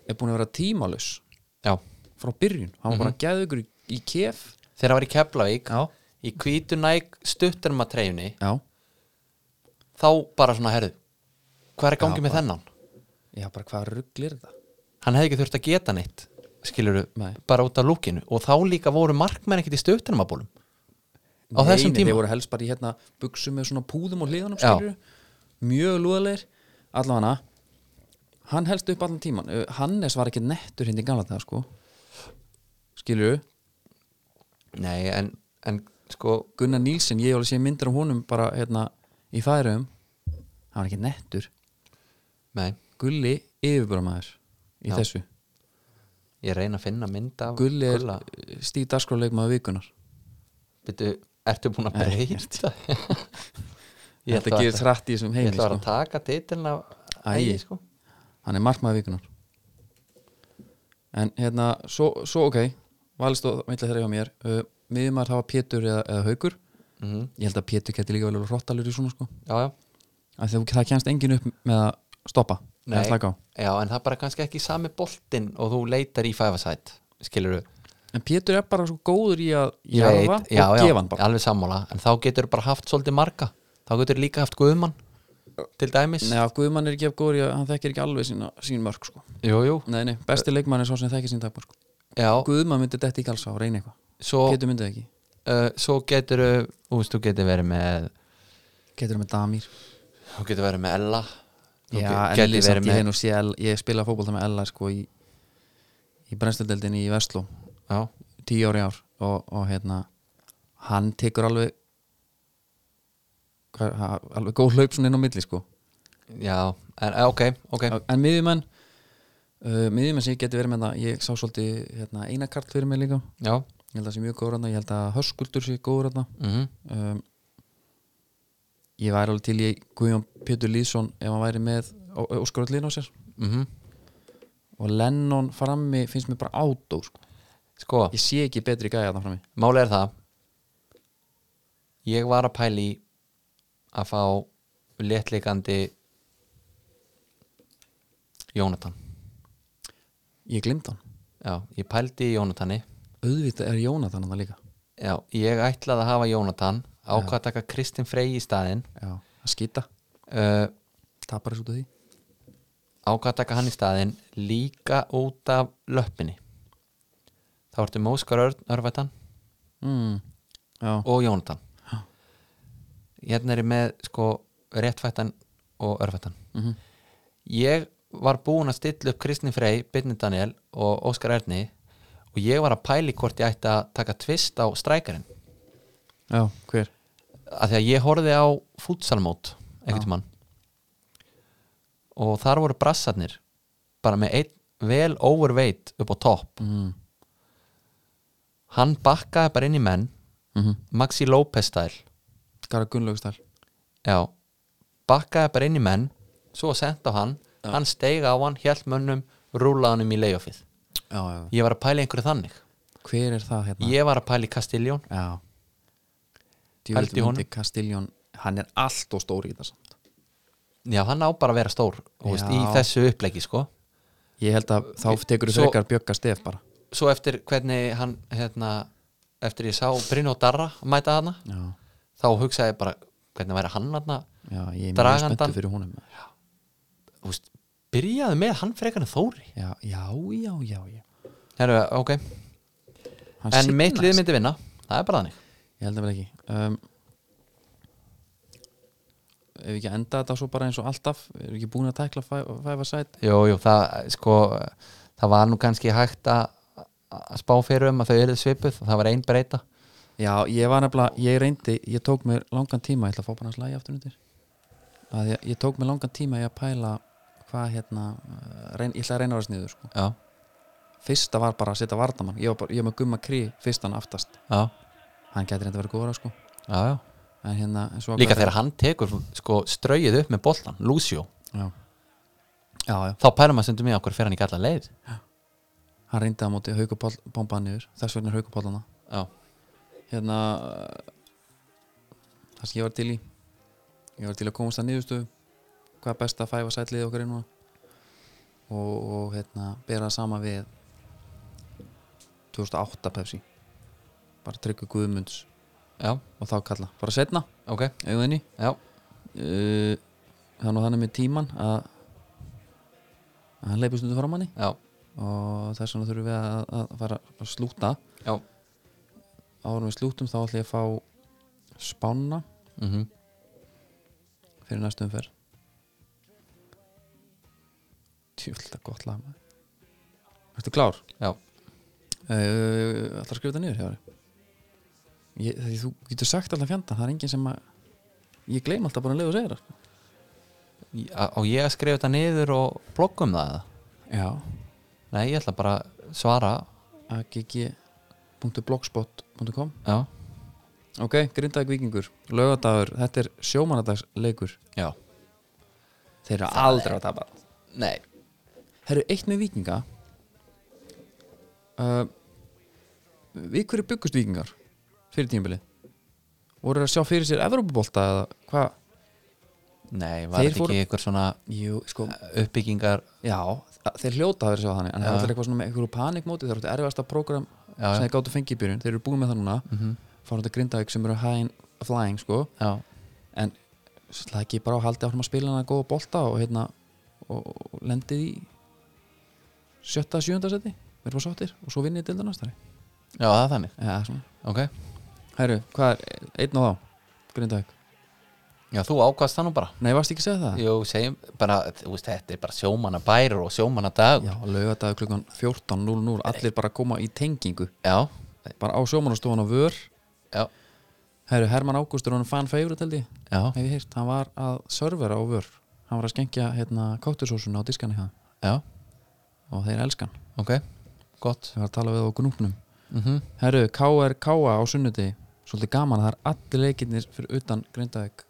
Speaker 1: er búin að vera tímalus
Speaker 2: já,
Speaker 1: frá byrjun, hann var
Speaker 2: Mhm.
Speaker 1: bara geðugur í, í kef
Speaker 2: þegar hann var í Keflavík
Speaker 1: já,
Speaker 2: í kvítunæk stuttunum að treyfni
Speaker 1: já,
Speaker 2: þá bara svona herðu hvað er í gangi með þennan?
Speaker 1: já bara hvað rugglir þetta
Speaker 2: hann hefði ekki þurft að geta neitt skiluru,
Speaker 1: Nei.
Speaker 2: bara út af lúkinu og þá líka voru markmenn ekkert í stuttunum að bólum Á
Speaker 1: Nei,
Speaker 2: þessum
Speaker 1: nei,
Speaker 2: tíma?
Speaker 1: þeir voru helst bara í hérna buksum með svona púðum og hliðanum
Speaker 2: Já.
Speaker 1: skilur mjög lúðalegir, allavega hann helst upp allan tíman Hannes var ekki nettur hindi gamla þetta sko skilur
Speaker 2: nei, en, en sko
Speaker 1: Gunnar Nílsen, ég hef alveg sé myndir af honum bara hérna í færum hann var ekki nettur,
Speaker 2: nei,
Speaker 1: Gulli yfirbúramæður í
Speaker 2: Já.
Speaker 1: þessu
Speaker 2: ég reyna að finna mynd af
Speaker 1: Gulli er
Speaker 2: Gulla.
Speaker 1: stíð dagskráleikmaður vikunar
Speaker 2: Byrju, ertu búin að
Speaker 1: Nei,
Speaker 2: breyta? Ég ætla
Speaker 1: Þetta
Speaker 2: að-
Speaker 1: gerir þrætt í þessum
Speaker 2: Ég
Speaker 1: heimi
Speaker 2: ætla að vera
Speaker 1: sko.
Speaker 2: að taka titilin af
Speaker 1: Æi.
Speaker 2: ægi, sko
Speaker 1: Hann er markmaður vikunar En hérna, svo, svo ok Valist og meitlega þeirra hjá mér uh, Miðumar hafa Pétur eða, eða Haukur
Speaker 2: mm
Speaker 1: Ég held að Pétur geti líka vel verið hrottalur í svona sko.
Speaker 2: Já, já
Speaker 1: Af því að Það kemst engin upp með að stoppa
Speaker 2: Nei.
Speaker 1: eða slaka á.
Speaker 2: Já, en það er bara kannski ekki sami boltinn og þú leitar í fæfasætt skilur
Speaker 1: En Pétur er bara svo góður í að jarfa og
Speaker 2: já, já,
Speaker 1: gefa hann bara
Speaker 2: alveg sammála en þá getur bara haft svolítið marga þá getur líka haft guðmann til dæmis
Speaker 1: Nei, að Guðmann er ekki af góður í að hann þekkir ekki alveg sína, sín mörg sko.
Speaker 2: Jú, jú
Speaker 1: Nei, nei, besti leikmann er svo sem þekkir sín takmörg sko.
Speaker 2: Já,
Speaker 1: Guðmann myndi detti í galsa og reyna eitthvað
Speaker 2: svo,
Speaker 1: Pétur myndi það ekki
Speaker 2: uh, svo getur þú veist, þú getur verið með
Speaker 1: Getur með Damir
Speaker 2: þú getur verið með Ella þú
Speaker 1: Já, en ég,
Speaker 2: getur verið
Speaker 1: samt, ég, hef
Speaker 2: með
Speaker 1: nú sé, ég spila fótbolta með Ella sko í, í brennstöldeldinni í Vestló
Speaker 2: Já,
Speaker 1: tíu ári ár og, og hérna hann tekur alveg hva, ha- alveg góð hlaup svona inn á milli sko
Speaker 2: já, en eh, ok, ok
Speaker 1: en miðjumenn uh, miðjumenn sem ég geti verið með það ég sá svolítið hérna, einakarl fyrir mig líka
Speaker 2: Já,
Speaker 1: ég held að það sé mjög góður hérna, ég held að höskuldur sé góður hérna
Speaker 2: mhm
Speaker 1: um, ég væri alveg til í Guðjón Pétur Lýðsson ef hann væri með Ó- Óskar Öllin á sér
Speaker 2: mhm
Speaker 1: og Lennon frammi finnst mér bara átó sko.
Speaker 2: Sko,
Speaker 1: ég sé ekki betri gæja þarna frammi
Speaker 2: máli er það Ég var að pæli að fá léttleikandi Jónatan
Speaker 1: Ég glimt hann
Speaker 2: Já, ég pældi í Jónatani
Speaker 1: Auðvitað er Jónatan hann líka
Speaker 2: Já, ég ætlaði að hafa Jónatan ákvað að taka Kristinn Frey í staðinn
Speaker 1: Já, að skýta
Speaker 2: uh,
Speaker 1: Tapar þess út af því
Speaker 2: ákvað að taka hann í staðinn líka út af löppinni þá ertu Móskar Örn, Örvætan
Speaker 1: mm. Já,
Speaker 2: og Jónatan hérna er ég með sko réttfættan og örfættan
Speaker 1: Mhm.
Speaker 2: ég var búinn að stilla upp Kristni Frey, Byrni Daniel og Óskar Erni og ég var að pæli hvort ég ætti að taka tvist á strækarinn
Speaker 1: já, hver?
Speaker 2: af því að ég horfði á fútsalmót ekkert mann og þar voru brassarnir bara með einn vel overweight upp á topp
Speaker 1: Mm.
Speaker 2: hann bakkaði bara inn í menn
Speaker 1: Mhm.
Speaker 2: Maxi López stæl
Speaker 1: Gara Gunnlaugstall
Speaker 2: já, bakkaði bara inn í menn svo sent á hann, hann steiga á hann hjælt mönnum, rúlaði hann um í layoffið
Speaker 1: já, já.
Speaker 2: ég var að pæla í einhverju þannig
Speaker 1: Hver er það hérna?
Speaker 2: ég var að pæla í Kastiljón
Speaker 1: Já
Speaker 2: Pældi í
Speaker 1: Djúvill myndi
Speaker 2: honum.
Speaker 1: Kastiljón Hann er allt og stór í þetta samt
Speaker 2: já, hann á bara að vera stór þú veist,
Speaker 1: Já.
Speaker 2: í þessu uppleggi sko
Speaker 1: Ég held að þá tekur þú
Speaker 2: Svo-
Speaker 1: frekar bjögga stef bara
Speaker 2: svo eftir hvernig hann hérna, eftir ég sá Brynó Darra mæta hana
Speaker 1: Já,
Speaker 2: þá hugsaði ég bara hvernig væri hann hana
Speaker 1: já ég er mjög
Speaker 2: Dragandan.
Speaker 1: spenntu fyrir honum Já,
Speaker 2: veist, byrjaði með hann frekar en Þóri
Speaker 1: já, já, já, já.
Speaker 2: Heru, okay.
Speaker 1: Hann
Speaker 2: en mitt
Speaker 1: signaðist.
Speaker 2: lið myndi vinna það er bara þannig
Speaker 1: Ég held að vel ekki um, Ef við ekki enda þetta svo bara eins og alltaf Erum við ekki búin að tækla fæfa sæt
Speaker 2: jú, jú, það, sko, það var nú kannski hægt að að spá fyrir um að þau eru svipuð það var ein breyta
Speaker 1: Já, ég var nefnilega, ég reyndi Ég tók mér langan tíma, ég ætla að fá bara hans lagi aftur undir að ég, ég tók mér langan tíma í að pæla hvað hérna eh, reyn, Ég ætla að reyna að vera sniður sko.
Speaker 2: já,
Speaker 1: Fyrsta var bara að setja vardamann Ég var, bara, ég var með gumma krí fyrstan aftast
Speaker 2: já,
Speaker 1: Hann gæti reynda að vera góra sko
Speaker 2: já, já.
Speaker 1: En hérna, en svo
Speaker 2: líka þegar hann tekur sko, ströyið upp með boltan, Lucio
Speaker 1: já. já, já,
Speaker 2: þá pælum maður sundum í okkur fyrir hann ekki allar leið
Speaker 1: hann reyndi að móti haugupál bombaðan niður, þess vegna haugupálana
Speaker 2: já,
Speaker 1: hérna það sem ég var til í ég var til að komast að niðurstöðu hvað er best að fæfa sætliðið okkar inn núna og, og hérna bera það sama við 2008 Pepsi bara tryggu Guðmunds
Speaker 2: já,
Speaker 1: og þá kalla, bara setna
Speaker 2: ok
Speaker 1: auðvunni
Speaker 2: já,
Speaker 1: uh, það er nú þannig með tíman að að hann leipur stundu fram manni
Speaker 2: já,
Speaker 1: og þess vegna þurfum við að, að fara að slúta
Speaker 2: já
Speaker 1: árum við slútum þá ætlum ég að fá spána
Speaker 2: mm
Speaker 1: fyrir næstu umferð Tjúlda gott lag maður. Ertu klár?
Speaker 2: Já,
Speaker 1: Uh, Alltaf að skrifa þetta niður hefur ég, því, Þú getur sagt alltaf fjanda Það er enginn sem að Ég gleym alltaf bara að leiða og segja það sko.
Speaker 2: á á ég að skrifa þetta niður og blogga um það eða?
Speaker 1: Já
Speaker 2: Nei, ég ætla bara að svara
Speaker 1: agg.blogspot.com
Speaker 2: Já,
Speaker 1: Ok, grindaðið vikingur, lögadagur Þetta er sjómanadagsleikur
Speaker 2: já
Speaker 1: Þeir eru aldrei að tapa
Speaker 2: Nei,
Speaker 1: Herru, eitt með vikinga uh, Við hverju byggust vikingar fyrir tímabili voru þeir að sjá fyrir sér Evrópubolta eða hvað
Speaker 2: Nei var
Speaker 1: Þeir
Speaker 2: þetta
Speaker 1: fóru-
Speaker 2: ekki einhver svona
Speaker 1: Jú, sko
Speaker 2: uppbyggingar
Speaker 1: Já, þa- þeir hljóta að vera að sjá þannig en það er alltaf eitthvað svona með einhverju panikmóti þeir eru þetta erfiðasta prógram
Speaker 2: Já, já.
Speaker 1: sem þeir gáttu fengið í byrjun þeir eru búin með það núna mm -hmm. fárum þetta grindaðið sem eru high flying sko
Speaker 2: Já,
Speaker 1: en slæði ekki bara á haldi áfram að spila hana góða bolta og hérna og, og lendið í sjötta, sjönda seti verður bara sáttir og svo vinnið deildar næstari
Speaker 2: já það er þannig
Speaker 1: eða svona
Speaker 2: Ok
Speaker 1: Hæru, hvað er einn og þá? Grindavík
Speaker 2: Já, þú ákvaðst það nú bara
Speaker 1: Nei, varst ekki að segja það?
Speaker 2: Jú, segjum bara, þú veist, þetta er bara sjómanna bærir og sjómanna dag
Speaker 1: Já, laugardagur klukkan 14.00 allir bara að koma í tengingu
Speaker 2: já,
Speaker 1: bara á sjómanastofan á vör
Speaker 2: já,
Speaker 1: Hæru, Herman Ágústur, hann fann feygur held ég
Speaker 2: já,
Speaker 1: hef ég heyrt, hann var að servera á vör hann var að skengja hérna káttursósuna á diskana hérna
Speaker 2: já,
Speaker 1: og þeir elskan,
Speaker 2: ok, gott
Speaker 1: þeir var að tala við á gnúpnum
Speaker 2: mm
Speaker 1: Herru, KR KA á sunnuti svolítið gaman, það er allir leikirnir fyrir utan Grindavík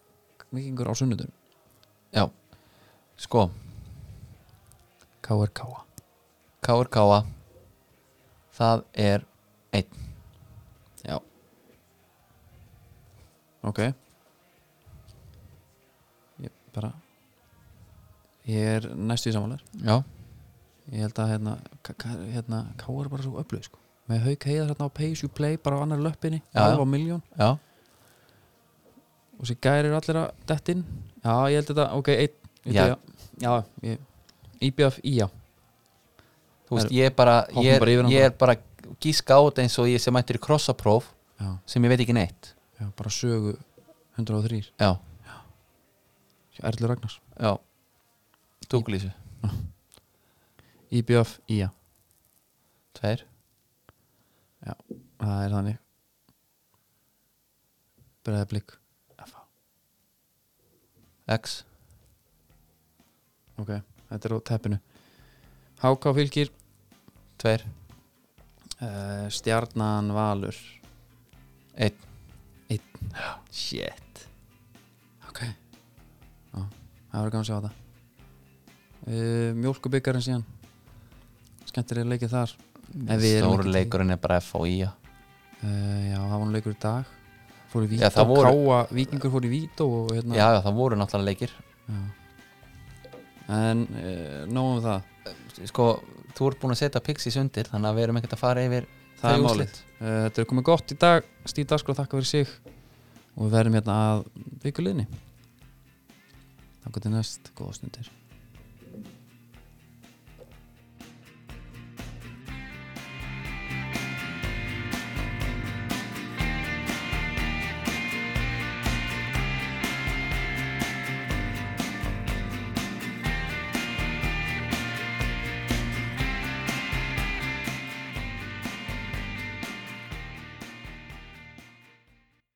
Speaker 1: vikingur á sunnutum
Speaker 2: Já, sko,
Speaker 1: KR KA
Speaker 2: Káur Káa Það er einn
Speaker 1: Já Ok Ég bara ég er næstu í samanlegar
Speaker 2: já,
Speaker 1: ég held að hérna, K- K- hérna Ká er bara svo öflug sko. með hauk heiðar hérna á pace you play bara á annar löppinni,
Speaker 2: Já, já.
Speaker 1: alveg á miljón
Speaker 2: já,
Speaker 1: og sér gæri eru allir að dettin já, ég held þetta, ok, einn
Speaker 2: Já.
Speaker 1: já, já ég, IBF, já,
Speaker 2: þú veist, ég er bara
Speaker 1: Hoppum
Speaker 2: ég
Speaker 1: bara yfir
Speaker 2: er,
Speaker 1: hann
Speaker 2: ég
Speaker 1: bara.
Speaker 2: er bara gíska á þetta eins og ég sem mættir í krossapróf
Speaker 1: já,
Speaker 2: sem ég veit ekki neitt
Speaker 1: já bara sögu 103,
Speaker 2: já,
Speaker 1: Erlur Ragnars
Speaker 2: já Dúkulísu,
Speaker 1: IBF, já,
Speaker 2: tveir
Speaker 1: það er þannig bregða blik FH,
Speaker 2: X,
Speaker 1: ok, þetta er á teppinu HK fylgir
Speaker 2: tveir,
Speaker 1: uh, Stjarnan Valur
Speaker 2: einn
Speaker 1: Shit Ok Já, það verður gaman að sjá þetta uh, Mjólkubyggarinn síðan Skemmtir er leikið þar En við erum
Speaker 2: stóru
Speaker 1: ekki-
Speaker 2: leikurinn er bara F og I
Speaker 1: uh, Já, það var nú leikur í dag Fór í Vító,
Speaker 2: Já, það voru-
Speaker 1: Káa, Víkingur fór í Vító og hérna
Speaker 2: já, já, það voru náttúrulega leikir
Speaker 1: Já. En uh, nóg um það
Speaker 2: sko, þú ert búin að setja Pixis undir þannig að við erum ekkert að fara yfir
Speaker 1: Það er
Speaker 2: þau
Speaker 1: málið
Speaker 2: úrslit.
Speaker 1: uh, Þetta er komið gott í dag Stíð Dagskrá þakka fyrir sig og við verðum hérna að byggulinni Takk til næst, góða stundir